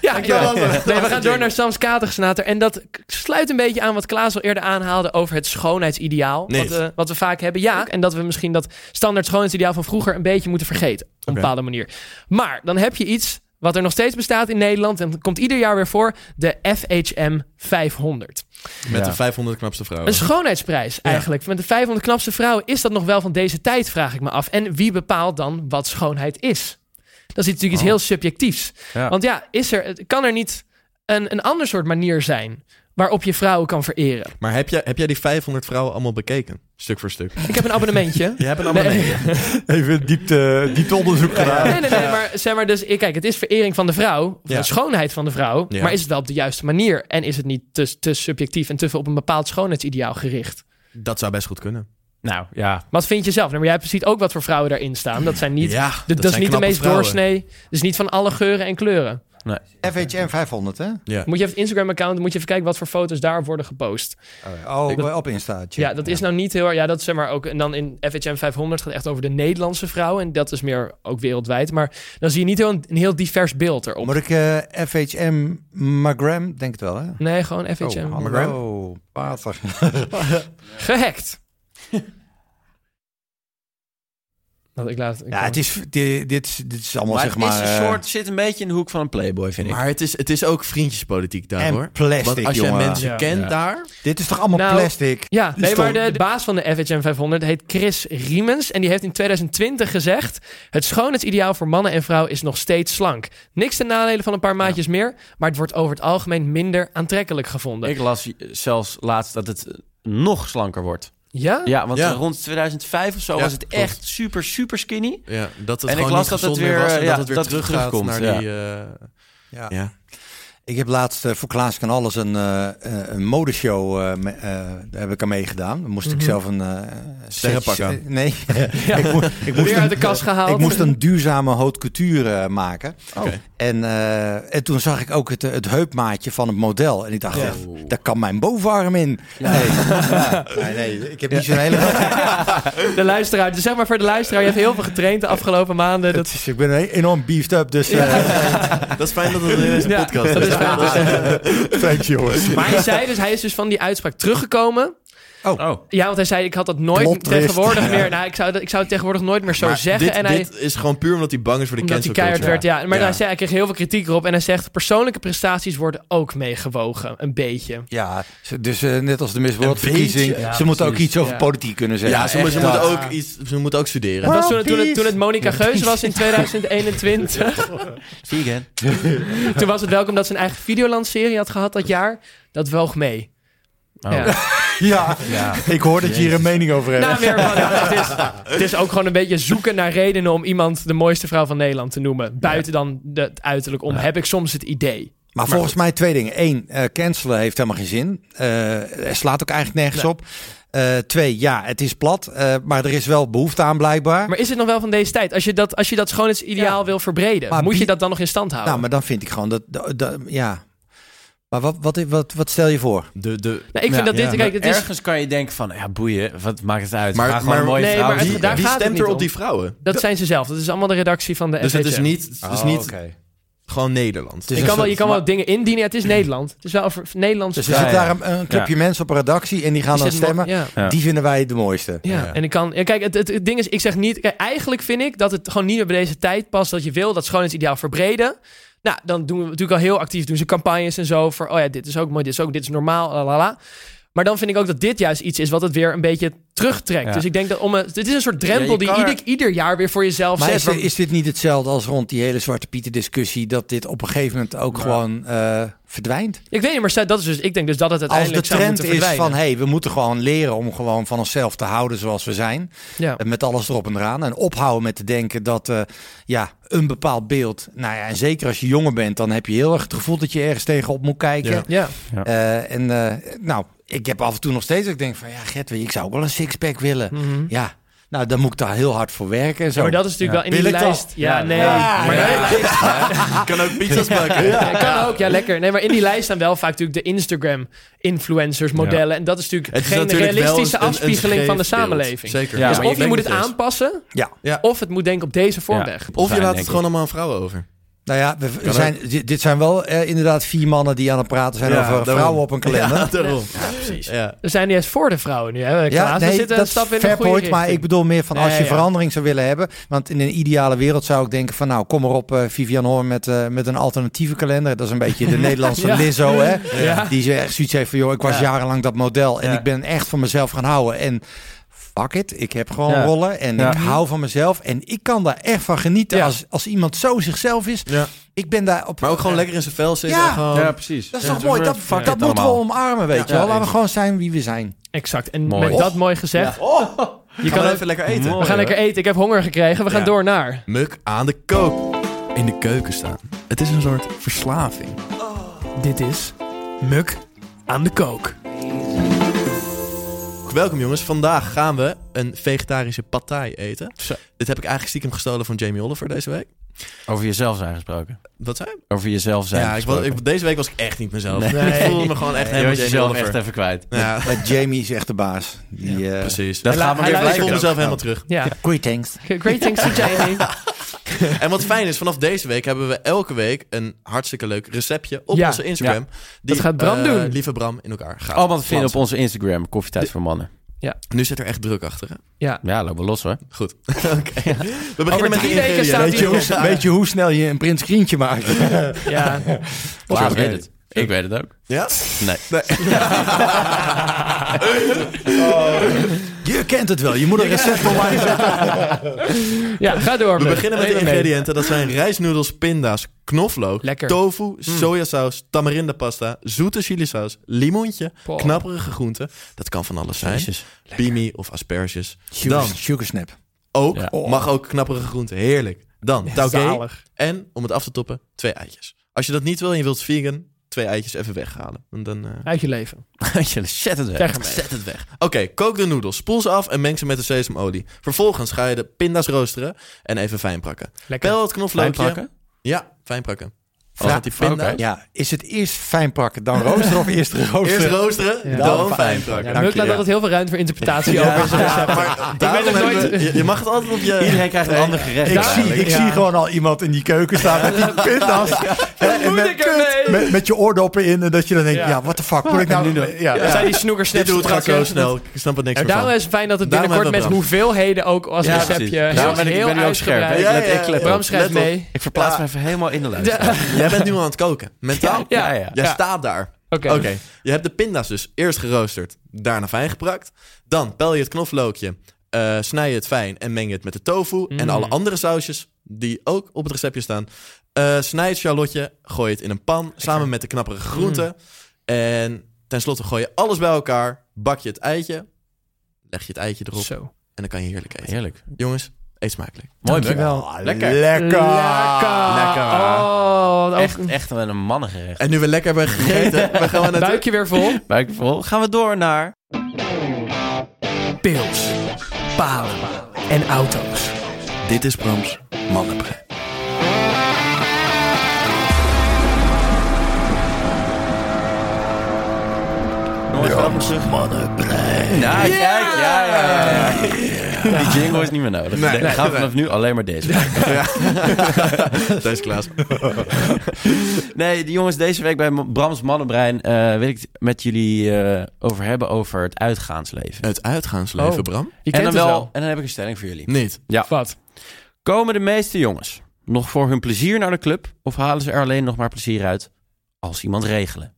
[SPEAKER 6] Ja, ja. Nee, we gaan door naar Sam's katergesnater. En dat k- sluit een beetje aan wat Klaas al eerder aanhaalde over het schoonheidsideaal.
[SPEAKER 8] Nee.
[SPEAKER 6] Wat, we, wat we vaak hebben. Ja, en dat we misschien dat standaard schoonheidsideaal van vroeger een beetje moeten vergeten. Op een
[SPEAKER 8] Oké.
[SPEAKER 6] bepaalde manier. Maar dan heb je iets wat er nog steeds bestaat in Nederland. En dat komt ieder jaar weer voor. De FHM 500.
[SPEAKER 8] Met
[SPEAKER 4] Ja.
[SPEAKER 8] de 500 knapste vrouwen.
[SPEAKER 6] Een schoonheidsprijs eigenlijk. Met de 500 knapste vrouwen is dat nog wel van deze tijd, vraag ik me af. En wie bepaalt dan wat schoonheid is? Dat is natuurlijk iets
[SPEAKER 8] Oh.
[SPEAKER 6] heel subjectiefs.
[SPEAKER 4] Ja.
[SPEAKER 6] Want ja, is er, het- kan er niet een, een ander soort manier zijn waarop je vrouwen kan vereren?
[SPEAKER 8] Maar heb jij, heb jij die 500 vrouwen allemaal bekeken? Stuk voor stuk.
[SPEAKER 6] Ik heb een
[SPEAKER 8] [LAUGHS]
[SPEAKER 6] abonnementje.
[SPEAKER 8] Je hebt een
[SPEAKER 6] Nee,
[SPEAKER 8] abonnement.
[SPEAKER 6] nee,
[SPEAKER 7] Even diepte, diepteonderzoek gedaan.
[SPEAKER 6] nee, nee, maar zeg maar dus, kijk, het is verering van de vrouw, of
[SPEAKER 8] Ja.
[SPEAKER 6] de schoonheid van de vrouw,
[SPEAKER 8] Ja.
[SPEAKER 6] maar is het wel op de juiste manier? En is het niet te, te subjectief en te veel op een bepaald schoonheidsideaal gericht?
[SPEAKER 8] Dat zou best goed kunnen.
[SPEAKER 4] Nou, ja.
[SPEAKER 6] Wat vind je zelf? Nou, maar jij ziet ook wat voor vrouwen daarin staan. Dat zijn niet
[SPEAKER 8] ja,
[SPEAKER 6] Dat, dat is
[SPEAKER 8] zijn
[SPEAKER 6] niet de
[SPEAKER 8] knappe
[SPEAKER 6] meest
[SPEAKER 8] vrouwen.
[SPEAKER 6] doorsnee. Dus niet van alle geuren en kleuren.
[SPEAKER 7] FHM 500, hè?
[SPEAKER 8] Ja.
[SPEAKER 6] Moet je even het Instagram-account, moet je even kijken wat voor foto's daarop worden gepost.
[SPEAKER 7] Oh, op- op Insta. check.
[SPEAKER 6] Ja, dat is nou niet heel erg. Ja, dat is zeg maar ook. En dan in FHM 500 gaat echt over de Nederlandse vrouwen. En dat is meer ook wereldwijd. Maar dan zie je niet heel een, een heel divers beeld erop.
[SPEAKER 7] Moet ik eh, FHM Magram? Denk het wel, hè?
[SPEAKER 6] Nee, gewoon FHM.
[SPEAKER 7] Oh, hallo, water.
[SPEAKER 6] Gehackt. Dat ik laat. ik
[SPEAKER 7] [LAUGHS] Ja,
[SPEAKER 6] kan-
[SPEAKER 7] het is, dit, dit, is- dit is allemaal
[SPEAKER 4] Maar,
[SPEAKER 7] zeg maar...
[SPEAKER 4] het is een
[SPEAKER 7] eh,
[SPEAKER 4] soort, zit een beetje in de hoek van een playboy, vind ik.
[SPEAKER 8] Maar het is, het is ook vriendjespolitiek daar, hoor.
[SPEAKER 7] en plastic,
[SPEAKER 8] Want als jij
[SPEAKER 7] jongen.
[SPEAKER 8] mensen
[SPEAKER 6] Ja.
[SPEAKER 8] kent
[SPEAKER 4] Ja.
[SPEAKER 8] daar...
[SPEAKER 7] Dit is toch allemaal
[SPEAKER 6] Nou,
[SPEAKER 7] plastic?
[SPEAKER 6] Ja,
[SPEAKER 7] Die
[SPEAKER 6] nee, maar
[SPEAKER 7] stond-
[SPEAKER 6] de, de baas van de FHM 500 heet Chris Riemens. En die heeft in 2020 gezegd... het schoonheidsideaal voor mannen en vrouwen is nog steeds slank. Niks ten nadele van een paar maatjes meer... maar het wordt over het algemeen minder aantrekkelijk gevonden.
[SPEAKER 4] Ik las zelfs laatst dat het eh, nog slanker wordt.
[SPEAKER 6] Ja?
[SPEAKER 4] Ja, want
[SPEAKER 8] Ja.
[SPEAKER 4] rond 2005 of zo
[SPEAKER 8] Ja,
[SPEAKER 4] was het
[SPEAKER 8] klopt.
[SPEAKER 4] echt super, super skinny.
[SPEAKER 8] Ja, dat het
[SPEAKER 4] En ik
[SPEAKER 8] gewoon
[SPEAKER 4] las
[SPEAKER 8] niet
[SPEAKER 4] dat het
[SPEAKER 8] gezond meer
[SPEAKER 4] weer,
[SPEAKER 8] was en
[SPEAKER 4] ja,
[SPEAKER 8] dat het weer
[SPEAKER 4] dat het
[SPEAKER 8] teruggaat
[SPEAKER 4] terugkomt,
[SPEAKER 8] naar
[SPEAKER 4] ja.
[SPEAKER 8] die... eh,
[SPEAKER 7] Ja.
[SPEAKER 8] ja.
[SPEAKER 7] Ik heb laatst eh, voor Klaas kan alles een, eh, eh, een modeshow. eh, me- eh, daar heb ik aan meegedaan. Dan
[SPEAKER 6] Mhm.
[SPEAKER 7] moest ik zelf een. eh, setje-
[SPEAKER 8] pak aan.
[SPEAKER 7] eh, [LAUGHS] nee, ik, moest, ik moest
[SPEAKER 6] Weer
[SPEAKER 7] een,
[SPEAKER 6] uit de kast gehaald.
[SPEAKER 7] ik moest een duurzame haute couture eh, maken.
[SPEAKER 8] Oké.
[SPEAKER 7] En, eh, en toen zag ik ook het, eh, het heupmaatje van het model. En ik dacht, echt, daar kan mijn bovenarm in. Nee, Ja. nee, nee, ik heb niet zo'n hele. [LAUGHS]
[SPEAKER 6] De luisteraar, dus zeg maar voor de luisteraar... je hebt heel veel getraind de afgelopen maanden. Dat,
[SPEAKER 7] Het is- Dus ik ben enorm beefed up, dus. eh
[SPEAKER 8] Dat is fijn dat het in deze
[SPEAKER 6] Ja,
[SPEAKER 8] podcast
[SPEAKER 6] dat
[SPEAKER 8] is.
[SPEAKER 6] is fijn.
[SPEAKER 7] thank you, jongens.
[SPEAKER 6] Maar hij zei dus, hij is dus van die uitspraak teruggekomen.
[SPEAKER 7] Oh.
[SPEAKER 6] Ja, want hij zei, ik had dat nooit
[SPEAKER 7] Plotwist.
[SPEAKER 6] tegenwoordig meer... Nou, ik zou, dat- ik zou het tegenwoordig nooit meer zo
[SPEAKER 8] Maar
[SPEAKER 6] [LAUGHS] zeggen.
[SPEAKER 8] dit,
[SPEAKER 6] en hij,
[SPEAKER 8] dit is gewoon puur omdat hij bang is voor de
[SPEAKER 6] Omdat hij
[SPEAKER 8] cancel
[SPEAKER 6] keihard
[SPEAKER 8] culture.
[SPEAKER 6] werd, ja. Maar
[SPEAKER 8] Ja.
[SPEAKER 6] Hij, zei, hij kreeg heel veel kritiek erop. En hij zegt, persoonlijke prestaties worden ook meegewogen. Een beetje.
[SPEAKER 7] Ja, ze- dus eh, net als de Miss World
[SPEAKER 8] beetje,
[SPEAKER 7] verkiezing,
[SPEAKER 6] ja,
[SPEAKER 7] ze moeten ook
[SPEAKER 6] precies,
[SPEAKER 7] iets over
[SPEAKER 6] ja.
[SPEAKER 7] politiek kunnen zeggen.
[SPEAKER 8] Ja, ze, moet- ze
[SPEAKER 7] Echt,
[SPEAKER 8] moeten
[SPEAKER 7] dat-
[SPEAKER 8] ook iets, ze moeten ook studeren.
[SPEAKER 6] Dat was toen, toen, het, toen het Monica Geus was in 2021.
[SPEAKER 4] Vegan.
[SPEAKER 6] toen was het welkom dat ze een eigen videolandserie had gehad dat jaar. Dat woog mee. Ja.
[SPEAKER 7] Ja, ik hoor dat je hier een mening over hebt.
[SPEAKER 6] Nou, meer van, ja, het, is, het is ook gewoon een beetje zoeken naar redenen om iemand de mooiste vrouw van Nederland te noemen. Buiten dan de- het uiterlijk om, heb ik soms het idee.
[SPEAKER 7] maar volgens mij twee dingen. Eén, eh, cancelen heeft helemaal geen zin. Eh, er slaat ook eigenlijk nergens op. Eh, twee, ja, het is plat, eh, maar er is wel behoefte aan blijkbaar.
[SPEAKER 6] Maar is het nog wel van deze tijd? Als je dat, als je dat schoonheidsideaal wil verbreden,
[SPEAKER 7] Maar
[SPEAKER 6] moet je
[SPEAKER 7] wie-
[SPEAKER 6] dat dan nog in stand houden?
[SPEAKER 7] nou, maar dan vind ik gewoon dat, dat- dat- ja. Maar wat, wat, wat, wat stel je voor?
[SPEAKER 8] De, de,
[SPEAKER 6] Nou, ik vind
[SPEAKER 4] Ja.
[SPEAKER 6] dat dit...
[SPEAKER 8] Ja.
[SPEAKER 6] Kijk, het is,
[SPEAKER 4] Ergens kan je denken van, ja boeien, wat maakt het uit?
[SPEAKER 8] Maar-
[SPEAKER 4] Maar, gewoon
[SPEAKER 8] maar-
[SPEAKER 4] een mooie
[SPEAKER 6] Nee,
[SPEAKER 4] vrouw.
[SPEAKER 6] maar het-
[SPEAKER 4] zien.
[SPEAKER 6] daar-
[SPEAKER 8] wie
[SPEAKER 6] gaat het
[SPEAKER 8] stemt
[SPEAKER 6] niet
[SPEAKER 8] er op
[SPEAKER 6] om. Eh,
[SPEAKER 8] die vrouwen?
[SPEAKER 6] Dat zijn ze zelf. Dat is allemaal de redactie van de
[SPEAKER 8] Dus het is
[SPEAKER 6] FHM.
[SPEAKER 8] niet, het is niet gewoon Nederland.
[SPEAKER 7] Dus
[SPEAKER 6] je
[SPEAKER 7] een
[SPEAKER 6] kan wel, je
[SPEAKER 7] soort-
[SPEAKER 6] kan wel dingen indienen. Het is Nederland. Het is wel over Nederlandse
[SPEAKER 7] Dus er
[SPEAKER 4] Ja,
[SPEAKER 7] zit
[SPEAKER 4] ja.
[SPEAKER 7] daar een, een clubje mensen op een redactie en die gaan
[SPEAKER 6] Die
[SPEAKER 7] dan
[SPEAKER 6] zitten
[SPEAKER 7] stemmen.
[SPEAKER 6] nog- Ja.
[SPEAKER 4] Ja.
[SPEAKER 7] Die vinden wij de mooiste.
[SPEAKER 6] Ja.
[SPEAKER 8] Ja.
[SPEAKER 6] en ik kan. ja, kijk, het, het, het ding is, ik zeg niet. Kijk, eigenlijk vind ik dat het gewoon niet meer bij deze tijd past dat je wil dat schoonheidsideaal verbreden. Nou, dan doen we natuurlijk al heel actief doen ze campagnes en zo voor. Oh ja, dit is ook mooi, dit is ook, dit is normaal, la la la. Maar dan vind ik ook dat dit juist iets is wat het weer een beetje terugtrekt.
[SPEAKER 4] Ja.
[SPEAKER 6] Dus ik denk dat om een, het is een soort drempel
[SPEAKER 4] Ja, je
[SPEAKER 6] die
[SPEAKER 4] kan er-
[SPEAKER 6] ieder, ieder jaar weer voor jezelf
[SPEAKER 7] Maar
[SPEAKER 6] zet.
[SPEAKER 7] is,
[SPEAKER 6] waar-
[SPEAKER 7] is dit niet hetzelfde als rond die hele Zwarte Pieten discussie... dat dit op een gegeven moment ook gewoon eh, verdwijnt?
[SPEAKER 6] ik weet niet, maar stel- dat is dus, ik denk dus dat het
[SPEAKER 7] Als de
[SPEAKER 6] uiteindelijk zou
[SPEAKER 7] trend
[SPEAKER 6] moeten
[SPEAKER 7] is
[SPEAKER 6] verdwijnen.
[SPEAKER 7] van... hé, hey, we moeten gewoon leren om gewoon van onszelf te houden zoals we zijn...
[SPEAKER 6] ja.
[SPEAKER 7] En Met alles erop en eraan. En ophouden met te denken dat eh, ja, een bepaald beeld. Nou ja, en zeker als je jonger bent, dan heb je heel erg het gevoel dat je ergens tegenop moet kijken.
[SPEAKER 8] Ja.
[SPEAKER 6] Ja.
[SPEAKER 7] Eh, en eh, nou, ik heb af en toe nog steeds. dat Ik denk van ja, Gert, weet je, ik zou ook wel een sixpack willen. Ja, nou, dan moet ik daar heel hard voor werken. En zo.
[SPEAKER 6] Mhm. Ja, maar dat is natuurlijk wel in
[SPEAKER 8] Wil ik
[SPEAKER 6] die
[SPEAKER 8] dat?
[SPEAKER 6] lijst. Ja, nee. Maar
[SPEAKER 8] kan
[SPEAKER 6] [LAUGHS]
[SPEAKER 8] ook pizza's bakken. Ja.
[SPEAKER 6] Ja, kan ook, ja, lekker. Nee, maar in die lijst staan wel vaak natuurlijk de Instagram-influencers, modellen. En dat is natuurlijk
[SPEAKER 8] Het is
[SPEAKER 6] geen
[SPEAKER 8] natuurlijk wel
[SPEAKER 6] realistische
[SPEAKER 8] een- een- een
[SPEAKER 6] afspiegeling van de
[SPEAKER 8] scheef beeld.
[SPEAKER 6] samenleving.
[SPEAKER 8] Zeker.
[SPEAKER 4] Ja,
[SPEAKER 6] dus
[SPEAKER 4] maar
[SPEAKER 6] of je moet het aanpassen,
[SPEAKER 7] Ja.
[SPEAKER 6] of het moet denken op deze vorm
[SPEAKER 4] Ja.
[SPEAKER 6] weg.
[SPEAKER 8] Of je
[SPEAKER 4] Fijn,
[SPEAKER 8] laat
[SPEAKER 4] denk
[SPEAKER 8] het
[SPEAKER 4] ik.
[SPEAKER 8] gewoon allemaal aan vrouwen over.
[SPEAKER 7] Nou ja, we, we zijn, di- dit zijn wel eh, inderdaad vier mannen die aan het praten zijn
[SPEAKER 8] Ja,
[SPEAKER 7] over
[SPEAKER 8] daarom.
[SPEAKER 7] vrouwen op een kalender.
[SPEAKER 8] Ja, daarom. Ja, precies. Ja.
[SPEAKER 6] We zijn juist voor de vrouwen nu, hè? Klaas, we zitten een stap in de
[SPEAKER 7] fair
[SPEAKER 6] goede
[SPEAKER 7] point, maar ik
[SPEAKER 6] richting.
[SPEAKER 7] bedoel meer van als
[SPEAKER 6] Nee,
[SPEAKER 7] je
[SPEAKER 6] ja.
[SPEAKER 7] verandering zou willen hebben. Want in een ideale wereld zou ik denken van nou, kom maar op eh, Vivian Hoorn met, eh, met een alternatieve kalender. Dat is een beetje
[SPEAKER 6] [LAUGHS]
[SPEAKER 7] de Nederlandse
[SPEAKER 6] Ja.
[SPEAKER 7] Lizzo, hè.
[SPEAKER 6] Ja.
[SPEAKER 7] Die zo echt zoiets heeft van joh, ik was jarenlang dat model en
[SPEAKER 4] Ja.
[SPEAKER 7] ik ben echt van mezelf gaan houden. En fuck it, ik heb gewoon
[SPEAKER 4] Ja.
[SPEAKER 7] rollen en
[SPEAKER 4] Ja.
[SPEAKER 7] ik hou van mezelf. En ik kan daar echt van genieten
[SPEAKER 6] Ja.
[SPEAKER 7] als, als iemand zo zichzelf is.
[SPEAKER 8] Ja.
[SPEAKER 7] Ik ben daar op...
[SPEAKER 8] Maar ook gewoon lekker in zijn vel zitten.
[SPEAKER 7] Ja.
[SPEAKER 8] en gewoon-
[SPEAKER 4] Ja, precies.
[SPEAKER 7] Dat is
[SPEAKER 4] Ja,
[SPEAKER 7] toch
[SPEAKER 4] doe
[SPEAKER 7] mooi,
[SPEAKER 4] maar.
[SPEAKER 7] dat,
[SPEAKER 4] Fuck
[SPEAKER 7] dat
[SPEAKER 4] it
[SPEAKER 7] moeten we
[SPEAKER 4] allemaal.
[SPEAKER 7] omarmen, weet je wel. Laten we gewoon zijn wie we zijn.
[SPEAKER 6] Exact, en
[SPEAKER 4] Mooi.
[SPEAKER 6] met dat mooi gezegd. Je
[SPEAKER 8] Gaan
[SPEAKER 6] kan
[SPEAKER 8] we
[SPEAKER 6] ook-
[SPEAKER 8] even lekker eten.
[SPEAKER 6] we gaan lekker eten, ik heb honger gekregen, we gaan
[SPEAKER 8] Ja.
[SPEAKER 6] door naar...
[SPEAKER 8] Muk aan de kook. In de keuken staan. Het is een soort verslaving.
[SPEAKER 6] Dit is Muk aan de kook.
[SPEAKER 8] Welkom jongens. Vandaag gaan we een vegetarische pad thai eten. Dit heb ik eigenlijk stiekem gestolen van Jamie Oliver deze week.
[SPEAKER 4] Over jezelf zijn gesproken.
[SPEAKER 8] Wat zei je?
[SPEAKER 4] Over jezelf zijn
[SPEAKER 8] Ja, ik, wa-
[SPEAKER 4] gesproken.
[SPEAKER 8] ik- deze week was ik echt niet mezelf.
[SPEAKER 4] Nee.
[SPEAKER 8] Ik voelde me
[SPEAKER 4] [LAUGHS]
[SPEAKER 8] gewoon echt
[SPEAKER 4] je
[SPEAKER 8] helemaal Jamie
[SPEAKER 4] was jezelf
[SPEAKER 8] Oliver.
[SPEAKER 4] echt even kwijt.
[SPEAKER 8] Ja,
[SPEAKER 7] Maar Jamie is echt de baas. Die, eh,
[SPEAKER 8] precies.
[SPEAKER 4] Dat
[SPEAKER 8] En
[SPEAKER 4] gaat me
[SPEAKER 8] hij luistert.
[SPEAKER 4] weer
[SPEAKER 8] ik voel
[SPEAKER 4] blijken.
[SPEAKER 8] mezelf helemaal terug.
[SPEAKER 6] Ja,
[SPEAKER 7] Greetings.
[SPEAKER 6] great thanks to Jamie.
[SPEAKER 8] En wat fijn is, vanaf deze week hebben we elke week een hartstikke leuk receptje op
[SPEAKER 6] Ja.
[SPEAKER 8] onze Instagram. Die,
[SPEAKER 6] Dat gaat Bram
[SPEAKER 8] eh,
[SPEAKER 6] doen.
[SPEAKER 8] Lieve Bram in elkaar gaat.
[SPEAKER 4] Allemaal te vinden op
[SPEAKER 8] planten.
[SPEAKER 4] onze Instagram, Koffietijd voor Mannen.
[SPEAKER 8] Nu zit er echt druk achter. Hè?
[SPEAKER 6] Ja,
[SPEAKER 4] Ja, lopen we los hoor.
[SPEAKER 8] Goed. [LAUGHS] Oké. We beginnen met
[SPEAKER 6] drie
[SPEAKER 8] de
[SPEAKER 6] weken
[SPEAKER 8] ingrediënten.
[SPEAKER 6] staat hij-
[SPEAKER 7] Weet je, hoe, weet je hoe snel je een print screentje
[SPEAKER 6] [LAUGHS]
[SPEAKER 7] maakt?
[SPEAKER 6] ja.
[SPEAKER 4] Klaas weet het. Ik weet het ook.
[SPEAKER 8] Ja?
[SPEAKER 4] [LAUGHS] Nee.
[SPEAKER 6] Oh.
[SPEAKER 7] Je kent het wel. Je moet een recept online zetten.
[SPEAKER 6] ja ga door
[SPEAKER 8] We
[SPEAKER 6] Muk.
[SPEAKER 8] beginnen met de
[SPEAKER 6] Neem me mee.
[SPEAKER 8] ingrediënten. Dat zijn rijstnoedels, pinda's, knoflook,
[SPEAKER 6] Lekker. Mm.
[SPEAKER 8] tofu, sojasaus, tamarindapasta, zoete chilisaus, limoentje,
[SPEAKER 6] Wow.
[SPEAKER 8] knapperige groenten. Dat kan van alles zijn. Bimi of asperges.
[SPEAKER 7] Sugar,
[SPEAKER 8] Dan.
[SPEAKER 7] sugar snap.
[SPEAKER 8] Ook,
[SPEAKER 4] Ja.
[SPEAKER 8] mag ook knapperige groenten. Heerlijk. Dan tauge.
[SPEAKER 6] Oh. Zalig.
[SPEAKER 8] En om het af te toppen, twee eitjes. Als je dat niet wil en je wilt vegan, twee eitjes even weghalen. Want dan... eh,
[SPEAKER 6] Uit je leven.
[SPEAKER 4] Shit het
[SPEAKER 6] Zeg
[SPEAKER 4] weg.
[SPEAKER 6] hem mee.
[SPEAKER 8] Zet het weg. Oké, kook de noedels, spoel ze af en meng ze met de sesamolie. Vervolgens ga je de pinda's roosteren en even fijn prakken.
[SPEAKER 6] Lekker.
[SPEAKER 8] Pel het knoflookje.
[SPEAKER 4] Fijnpakken?
[SPEAKER 8] Ja, fijn prakken.
[SPEAKER 7] Ja,
[SPEAKER 8] die pinda.
[SPEAKER 4] oké.
[SPEAKER 7] Ja, is het eerst fijn prakken, dan roosteren of eerst roosteren?
[SPEAKER 8] Eerst roosteren,
[SPEAKER 6] Ja.
[SPEAKER 8] dan
[SPEAKER 7] Ja.
[SPEAKER 8] fijn prakken.
[SPEAKER 6] Ja, Muk laat altijd heel veel ruimte voor
[SPEAKER 4] [LAUGHS]
[SPEAKER 6] interpretatie over. zijn recept.
[SPEAKER 8] maar daarom
[SPEAKER 6] ben er
[SPEAKER 8] hebben
[SPEAKER 6] nooit-
[SPEAKER 8] we- je, je mag het altijd op je...
[SPEAKER 4] Iedereen krijgt een ander gerecht.
[SPEAKER 7] ik zie,
[SPEAKER 8] duidelijk.
[SPEAKER 7] ik zie gewoon al iemand in die keuken staan met
[SPEAKER 6] [LAUGHS]
[SPEAKER 7] die pinda's. En
[SPEAKER 6] moet
[SPEAKER 7] met,
[SPEAKER 6] ik ermee?
[SPEAKER 7] met, met je oordoppen in. En dat je dan denkt,
[SPEAKER 6] [LAUGHS] Ja.
[SPEAKER 7] ja, what the fuck moet ik nou doen? Ja.
[SPEAKER 6] Zijn die snoekers Nou,
[SPEAKER 8] Dit doet het gewoon zo snel. Ik snap er niks meer
[SPEAKER 6] Daarom
[SPEAKER 8] van.
[SPEAKER 6] is het fijn dat het
[SPEAKER 8] Daarom
[SPEAKER 6] binnenkort met
[SPEAKER 8] hebben we
[SPEAKER 6] hoeveelheden ook als
[SPEAKER 4] Ja,
[SPEAKER 6] receptje...
[SPEAKER 4] precies.
[SPEAKER 6] heel-
[SPEAKER 4] Daarom ben ik-
[SPEAKER 6] heel
[SPEAKER 4] ben ik ook scherp, hè?
[SPEAKER 6] uitgebreid.
[SPEAKER 4] Ik let- ik let
[SPEAKER 6] Bram schrijft
[SPEAKER 8] Let op.
[SPEAKER 6] mee.
[SPEAKER 4] Ik verplaats
[SPEAKER 8] Ja.
[SPEAKER 4] me even helemaal in de lijst.
[SPEAKER 6] De-
[SPEAKER 8] Jij bent nu al aan het koken. Mentaal.
[SPEAKER 6] Ja,
[SPEAKER 4] ja.
[SPEAKER 8] Jij
[SPEAKER 6] Ja.
[SPEAKER 8] staat daar.
[SPEAKER 6] [LAUGHS] Oké.
[SPEAKER 8] Oké, je hebt de pinda's dus eerst geroosterd, daarna fijn geprakt. Dan pel je het knoflookje, eh, snij je het fijn en meng je het met de tofu
[SPEAKER 6] Mm.
[SPEAKER 8] en alle andere sausjes die ook op het receptje staan. Eh, snij het charlotje, gooi het in een pan samen met de knapperige groenten.
[SPEAKER 6] Mm.
[SPEAKER 8] En tenslotte gooi je alles bij elkaar, bak je het eitje, leg je het eitje erop
[SPEAKER 6] Zo.
[SPEAKER 8] en dan kan je heerlijk eten.
[SPEAKER 4] Heerlijk.
[SPEAKER 8] Jongens, eet smakelijk.
[SPEAKER 4] Mooi, Buk.
[SPEAKER 7] Dankjewel.
[SPEAKER 4] Lekker.
[SPEAKER 7] Lekker.
[SPEAKER 6] Lekker. Oh, ook
[SPEAKER 4] Echt, echt wel een mannengerecht.
[SPEAKER 8] En nu we lekker hebben
[SPEAKER 6] [LAUGHS]
[SPEAKER 8] gegeten, we gaan we naar
[SPEAKER 6] buikje weer vol.
[SPEAKER 4] Buik vol. Gaan we door naar...
[SPEAKER 6] Pils, palen en auto's.
[SPEAKER 8] Dit is Brams Mannenbrein.
[SPEAKER 4] Nooit van terug. Mannenbrein. Nou, kijk. Ja, ja, ja. ja. Die jingle is niet meer nodig.
[SPEAKER 8] Nee,
[SPEAKER 4] Nee,
[SPEAKER 8] nee,
[SPEAKER 4] gaan we
[SPEAKER 8] nee.
[SPEAKER 4] vanaf nu alleen maar deze.
[SPEAKER 8] Deze
[SPEAKER 6] [LAUGHS]
[SPEAKER 8] Klaas.
[SPEAKER 4] Nee, de jongens, deze week bij Brams Mannenbrein eh, wil ik het met jullie eh, over hebben over het uitgaansleven.
[SPEAKER 8] Het uitgaansleven,
[SPEAKER 6] Oh.
[SPEAKER 8] Bram?
[SPEAKER 6] Je
[SPEAKER 4] en,
[SPEAKER 6] kent
[SPEAKER 4] dan
[SPEAKER 6] het
[SPEAKER 4] wel,
[SPEAKER 6] wel.
[SPEAKER 4] en dan heb ik een stelling voor jullie.
[SPEAKER 8] Niet.
[SPEAKER 6] Wat?
[SPEAKER 4] Komen de meeste jongens nog voor hun plezier naar de club of halen ze er alleen nog maar plezier uit als iemand regelen?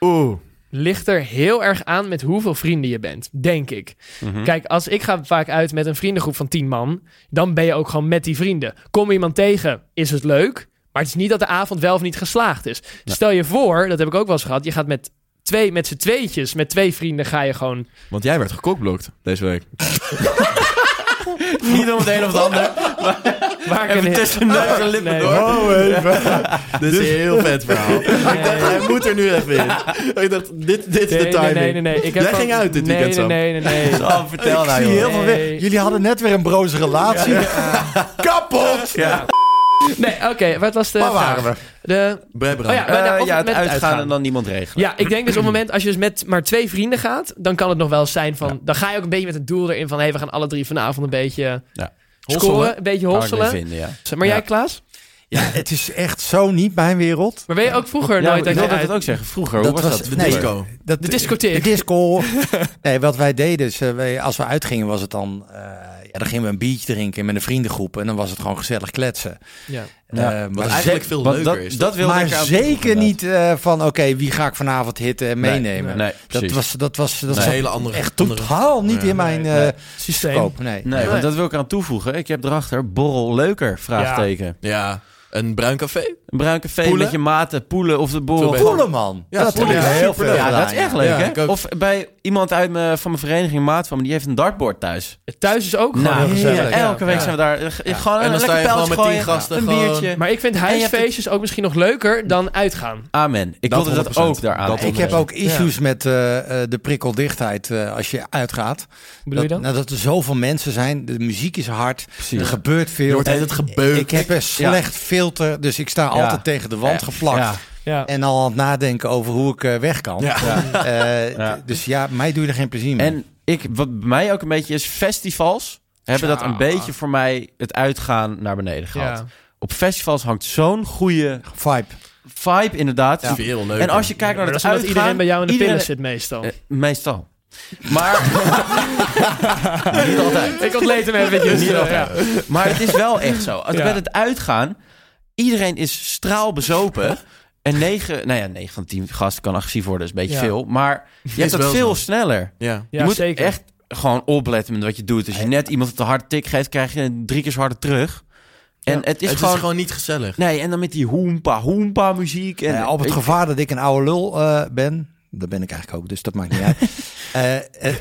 [SPEAKER 8] Oeh.
[SPEAKER 6] ligt er heel erg aan met hoeveel vrienden je bent, denk ik.
[SPEAKER 8] Mhm.
[SPEAKER 6] Kijk, als ik ga vaak uit met een vriendengroep van 10 man, dan ben je ook gewoon met die vrienden. Kom iemand tegen, is het leuk, maar het is niet dat de avond wel of niet geslaagd is. Stel je voor, dat heb ik ook wel eens gehad, je gaat met twee, met z'n tweetjes, met twee vrienden ga je gewoon
[SPEAKER 8] Want jij werd gekokblokt deze week.
[SPEAKER 4] Niet om het een of het ander.
[SPEAKER 6] waar
[SPEAKER 4] Even tussen neus en lippen
[SPEAKER 6] Nee.
[SPEAKER 4] door.
[SPEAKER 8] [LAUGHS] Dit is een heel vet verhaal. Oh, [LAUGHS] Ik dacht, hij moet er nu even in. Ik dacht, dit, dit is de timing.
[SPEAKER 6] Nee, nee, nee. Ik heb
[SPEAKER 8] Jij
[SPEAKER 6] gewoon-
[SPEAKER 8] ging uit dit
[SPEAKER 6] nee,
[SPEAKER 8] weekend, Sam.
[SPEAKER 6] Nee, nee, nee. nee.
[SPEAKER 4] Oh, vertel nou,
[SPEAKER 7] Zie
[SPEAKER 4] joh.
[SPEAKER 7] je heel veel
[SPEAKER 6] Nee.
[SPEAKER 7] weg. Jullie hadden net weer een broze relatie. [LAUGHS] Kapot!
[SPEAKER 8] [LAUGHS]
[SPEAKER 6] Nee, oké. wat was de
[SPEAKER 7] Waar waren
[SPEAKER 6] vraag?
[SPEAKER 7] we?
[SPEAKER 6] De,
[SPEAKER 8] Brebra.
[SPEAKER 6] oh ja, maar,
[SPEAKER 4] Eh,
[SPEAKER 6] of
[SPEAKER 4] ja, het
[SPEAKER 6] met
[SPEAKER 4] uitgaan,
[SPEAKER 6] uitgaan.
[SPEAKER 4] en dan niemand regelen.
[SPEAKER 6] ja, ik denk dus op het moment als je dus met maar twee vrienden gaat, dan kan het nog wel eens zijn van, dan ga je ook een beetje met het doel erin van, hé, we gaan alle drie vanavond een beetje
[SPEAKER 4] Ja.
[SPEAKER 6] scoren, een beetje
[SPEAKER 4] Kan ik me
[SPEAKER 6] hosselen.
[SPEAKER 4] vinden, ja.
[SPEAKER 6] Maar
[SPEAKER 4] Ja.
[SPEAKER 6] jij, Klaas?
[SPEAKER 7] Ja, het is echt zo niet mijn wereld.
[SPEAKER 6] Maar ben je ook vroeger
[SPEAKER 4] Ja,
[SPEAKER 6] nooit
[SPEAKER 4] ik
[SPEAKER 6] uit
[SPEAKER 4] wilde
[SPEAKER 6] je
[SPEAKER 4] dat
[SPEAKER 6] uit?
[SPEAKER 4] ook zeggen. Vroeger,
[SPEAKER 7] Dat
[SPEAKER 4] hoe was,
[SPEAKER 7] was-
[SPEAKER 4] dat?
[SPEAKER 8] De
[SPEAKER 7] nee.
[SPEAKER 8] disco.
[SPEAKER 7] Dat,
[SPEAKER 6] De discotheek.
[SPEAKER 7] De
[SPEAKER 6] [LAUGHS]
[SPEAKER 7] disco. nee, wat wij deden, is, eh, wij, als we uitgingen, was het dan... eh, ja, dan gingen we een biertje drinken met een vriendengroep. En dan was het gewoon gezellig kletsen.
[SPEAKER 6] Ja.
[SPEAKER 4] Ja.
[SPEAKER 7] Eh,
[SPEAKER 8] Wat
[SPEAKER 7] maar
[SPEAKER 8] eigenlijk veel
[SPEAKER 4] Want
[SPEAKER 8] leuker
[SPEAKER 4] dat,
[SPEAKER 8] is.
[SPEAKER 4] dat wilde
[SPEAKER 7] maar
[SPEAKER 4] ik aan-
[SPEAKER 7] zeker niet eh, van, oké, wie ga ik vanavond hitten en
[SPEAKER 4] Nee,
[SPEAKER 7] meenemen.
[SPEAKER 4] Nee,
[SPEAKER 7] dat
[SPEAKER 4] precies.
[SPEAKER 7] was, dat was dat
[SPEAKER 8] dat is een
[SPEAKER 7] zat
[SPEAKER 8] hele andere...
[SPEAKER 7] echt
[SPEAKER 8] andere-
[SPEAKER 7] totaal niet
[SPEAKER 8] Ja,
[SPEAKER 7] in mijn eh
[SPEAKER 4] nee.
[SPEAKER 6] Systeem.
[SPEAKER 7] koop. Nee.
[SPEAKER 4] Nee, want dat wil ik aan toevoegen. Ik heb erachter borrel leuker, vraagteken.
[SPEAKER 8] Ja, een bruin café.
[SPEAKER 4] Een bruin café
[SPEAKER 8] Poelen?
[SPEAKER 4] met je maten, poelen of de borrel.
[SPEAKER 8] Veel beter.
[SPEAKER 7] Poelen, man.
[SPEAKER 8] Ja,
[SPEAKER 7] dat
[SPEAKER 8] poelen
[SPEAKER 7] heb ik
[SPEAKER 8] is
[SPEAKER 7] heel
[SPEAKER 8] superleuk.
[SPEAKER 7] veel
[SPEAKER 4] Ja,
[SPEAKER 7] gedaan,
[SPEAKER 4] dat is echt leuk,
[SPEAKER 8] Ja, ik
[SPEAKER 4] hè?
[SPEAKER 8] ook.
[SPEAKER 4] Of bij iemand uit mijn, van mijn vereniging, een maat van me, die heeft een dartboard thuis.
[SPEAKER 6] Thuis is ook gewoon
[SPEAKER 4] Nou,
[SPEAKER 6] heel
[SPEAKER 7] heerlijk.
[SPEAKER 6] gezellig.
[SPEAKER 4] Elke week
[SPEAKER 7] Ja.
[SPEAKER 4] zijn we daar. eh, Gewoon
[SPEAKER 8] En
[SPEAKER 4] een
[SPEAKER 8] dan sta
[SPEAKER 4] lekker
[SPEAKER 8] je gewoon
[SPEAKER 4] pijltje
[SPEAKER 8] met tien
[SPEAKER 4] gooien,
[SPEAKER 8] gasten.
[SPEAKER 4] een
[SPEAKER 8] gewoon-
[SPEAKER 4] biertje.
[SPEAKER 6] Maar ik vind
[SPEAKER 4] hebt-
[SPEAKER 6] huisfeestjes ook misschien nog leuker dan uitgaan.
[SPEAKER 4] Amen. Ik
[SPEAKER 8] Dat
[SPEAKER 4] wilde dat
[SPEAKER 8] 100%.
[SPEAKER 4] ook daaraan.
[SPEAKER 8] Dat
[SPEAKER 4] aan.
[SPEAKER 7] Ik heb ook issues met eh, eh, de prikkeldichtheid eh, als je uitgaat.
[SPEAKER 6] Bedoel je
[SPEAKER 7] dat,
[SPEAKER 6] dan?
[SPEAKER 7] Nou, dat er zoveel mensen zijn, de muziek is hard,
[SPEAKER 4] Precies.
[SPEAKER 7] er gebeurt veel.
[SPEAKER 8] Je wordt altijd gebeukt.
[SPEAKER 7] Ik heb een slecht filter, dus ik sta altijd tegen de wand geplakt.
[SPEAKER 4] Ja.
[SPEAKER 6] Ja.
[SPEAKER 7] En al aan het nadenken over hoe ik eh, weg kan. Eh,
[SPEAKER 4] Ja.
[SPEAKER 7] Dus ja, mij doe je er geen plezier mee.
[SPEAKER 4] En ik, wat bij mij ook een beetje is, festivals hebben dat een beetje voor mij het uitgaan naar beneden gehad.
[SPEAKER 6] Ja.
[SPEAKER 4] Op festivals hangt zo'n goede
[SPEAKER 7] Vibe.
[SPEAKER 4] vibe inderdaad.
[SPEAKER 8] Ja. Veel leuker.
[SPEAKER 4] En als je kijkt naar
[SPEAKER 6] Maar dat
[SPEAKER 4] het
[SPEAKER 6] is omdat
[SPEAKER 4] uitgaan...
[SPEAKER 6] iedereen bij jou in de
[SPEAKER 4] iedereen-
[SPEAKER 6] pillen zit
[SPEAKER 4] [LAUGHS]
[SPEAKER 6] meestal.
[SPEAKER 4] Eh, meestal. Maar,
[SPEAKER 6] [LAUGHS] Niet altijd. Ik ontleed hem eventjes.
[SPEAKER 4] Niet
[SPEAKER 6] eh,
[SPEAKER 4] altijd.
[SPEAKER 6] ja.
[SPEAKER 4] maar het is wel echt zo. Als
[SPEAKER 6] Ja.
[SPEAKER 4] Met het uitgaan, iedereen is straalbezopen. En 9, nou ja, 9 van 10 gasten kan agressief worden, is een beetje
[SPEAKER 6] Ja.
[SPEAKER 4] veel.
[SPEAKER 6] [LAUGHS]
[SPEAKER 4] Maar je hebt dat
[SPEAKER 8] wel
[SPEAKER 4] veel
[SPEAKER 8] zo.
[SPEAKER 4] sneller.
[SPEAKER 8] Ja.
[SPEAKER 6] Ja,
[SPEAKER 4] je moet
[SPEAKER 6] zeker.
[SPEAKER 4] echt gewoon opletten met wat je doet. Als je net iemand een harde tik geeft, krijg je een drie keer zo harder terug. En het is
[SPEAKER 8] het
[SPEAKER 4] gewoon...
[SPEAKER 8] is gewoon niet gezellig.
[SPEAKER 4] Nee, en dan met die hoempa, hoempa muziek. En
[SPEAKER 7] Eh, op het
[SPEAKER 4] ik-
[SPEAKER 7] gevaar dat ik een oude lul eh, ben, dat ben ik eigenlijk ook, dus dat maakt niet
[SPEAKER 4] [LAUGHS]
[SPEAKER 7] uit. Eh, eh, eh,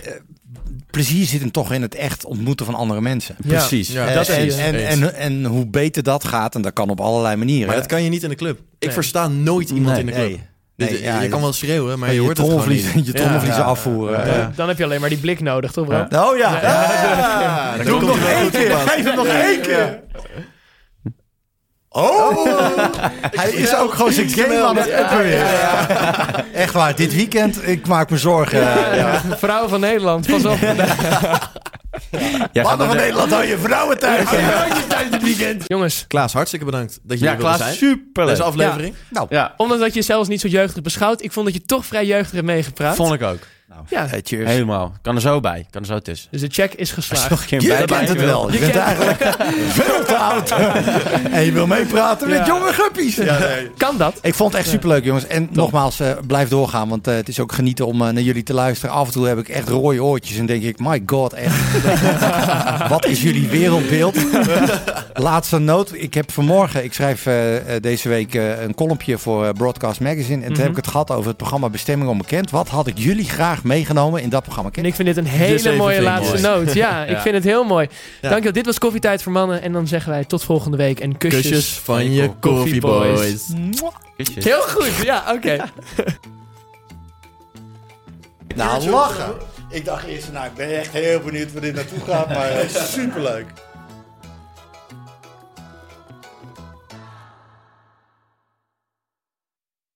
[SPEAKER 7] plezier zit hem toch in het echt ontmoeten van andere mensen.
[SPEAKER 4] Precies.
[SPEAKER 8] Ja,
[SPEAKER 7] Eh,
[SPEAKER 8] dat
[SPEAKER 7] en,
[SPEAKER 8] is
[SPEAKER 7] en, en, en hoe beter dat gaat, en dat kan op allerlei manieren.
[SPEAKER 8] Maar dat kan je niet in de club. Ik
[SPEAKER 6] Nee.
[SPEAKER 8] versta nooit iemand
[SPEAKER 4] Nee,
[SPEAKER 8] in de club.
[SPEAKER 7] Nee,
[SPEAKER 8] Dit-
[SPEAKER 7] nee, ja,
[SPEAKER 8] je kan wel schreeuwen, maar je, hoort het gewoon
[SPEAKER 7] trommelvliezen-
[SPEAKER 8] niet.
[SPEAKER 7] [LAUGHS] Je trommelvliezen afvoeren.
[SPEAKER 6] Dan- eh, Dan heb je alleen maar die blik nodig, toch bro?
[SPEAKER 7] Oh ja.
[SPEAKER 8] Ja, Doe hem nog één keer. Geef hem nog één keer.
[SPEAKER 7] Oh.
[SPEAKER 8] Oh.
[SPEAKER 7] [LAUGHS] Hij is ook gewoon zijn game aan het uppen weer. Echt waar, dit weekend, ik maak me zorgen.
[SPEAKER 6] Vrouwen van Nederland, pas op.
[SPEAKER 4] Jij gaat
[SPEAKER 7] Mannen
[SPEAKER 4] dan-
[SPEAKER 7] van Nederland, hou je vrouwen thuis.
[SPEAKER 6] Jongens,
[SPEAKER 8] Klaas, hartstikke bedankt dat je
[SPEAKER 4] Ja,
[SPEAKER 8] hier wilde
[SPEAKER 4] Klaas,
[SPEAKER 8] zijn.
[SPEAKER 4] superleuk.
[SPEAKER 8] Deze aflevering.
[SPEAKER 7] Nou,
[SPEAKER 4] Ja,
[SPEAKER 6] omdat dat je zelfs niet zo jeugdig beschouwt, ik vond dat je toch vrij jeugdig hebt meegepraat.
[SPEAKER 4] vond ik ook.
[SPEAKER 6] Ja,
[SPEAKER 7] eh,
[SPEAKER 4] Helemaal. Kan er zo bij. Kan er zo tussen.
[SPEAKER 6] dus de check is geslaagd.
[SPEAKER 4] Nog geen
[SPEAKER 7] Je
[SPEAKER 4] bij- bij-
[SPEAKER 7] kent het wel. Je bent eigenlijk veel te oud. En je wil meepraten
[SPEAKER 6] Ja.
[SPEAKER 7] met jonge guppies.
[SPEAKER 6] Kan dat?
[SPEAKER 7] Ik vond het echt superleuk, jongens. En nogmaals, eh, blijf doorgaan. Want eh, het is ook genieten om eh, naar jullie te luisteren. Af en toe heb ik echt rode oortjes en denk ik... My god, echt. Wat is jullie wereldbeeld? Laatste noot. Ik heb vanmorgen... Ik schrijf eh, eh, deze week eh, een columnpje voor eh, Broadcast Magazine. En toen heb ik het gehad over het programma Bestemming Onbekend. Wat had ik jullie graag meegenomen in dat programma?
[SPEAKER 6] En
[SPEAKER 7] Ken-
[SPEAKER 6] ik vind dit een hele
[SPEAKER 8] zeven
[SPEAKER 6] mooie
[SPEAKER 8] vingers.
[SPEAKER 6] laatste noot. [LAUGHS] Ja, ik vind het heel mooi. Dankjewel, dit was Koffietijd voor Mannen. En dan zeggen wij tot volgende week. En kusjes.
[SPEAKER 8] Kusjes van je koffieboys.
[SPEAKER 4] Kusjes.
[SPEAKER 6] Heel goed, ja, oké.
[SPEAKER 7] Nou, lachen. Ik dacht eerst, nou, ik ben echt heel benieuwd waar dit naartoe gaat. Maar superleuk.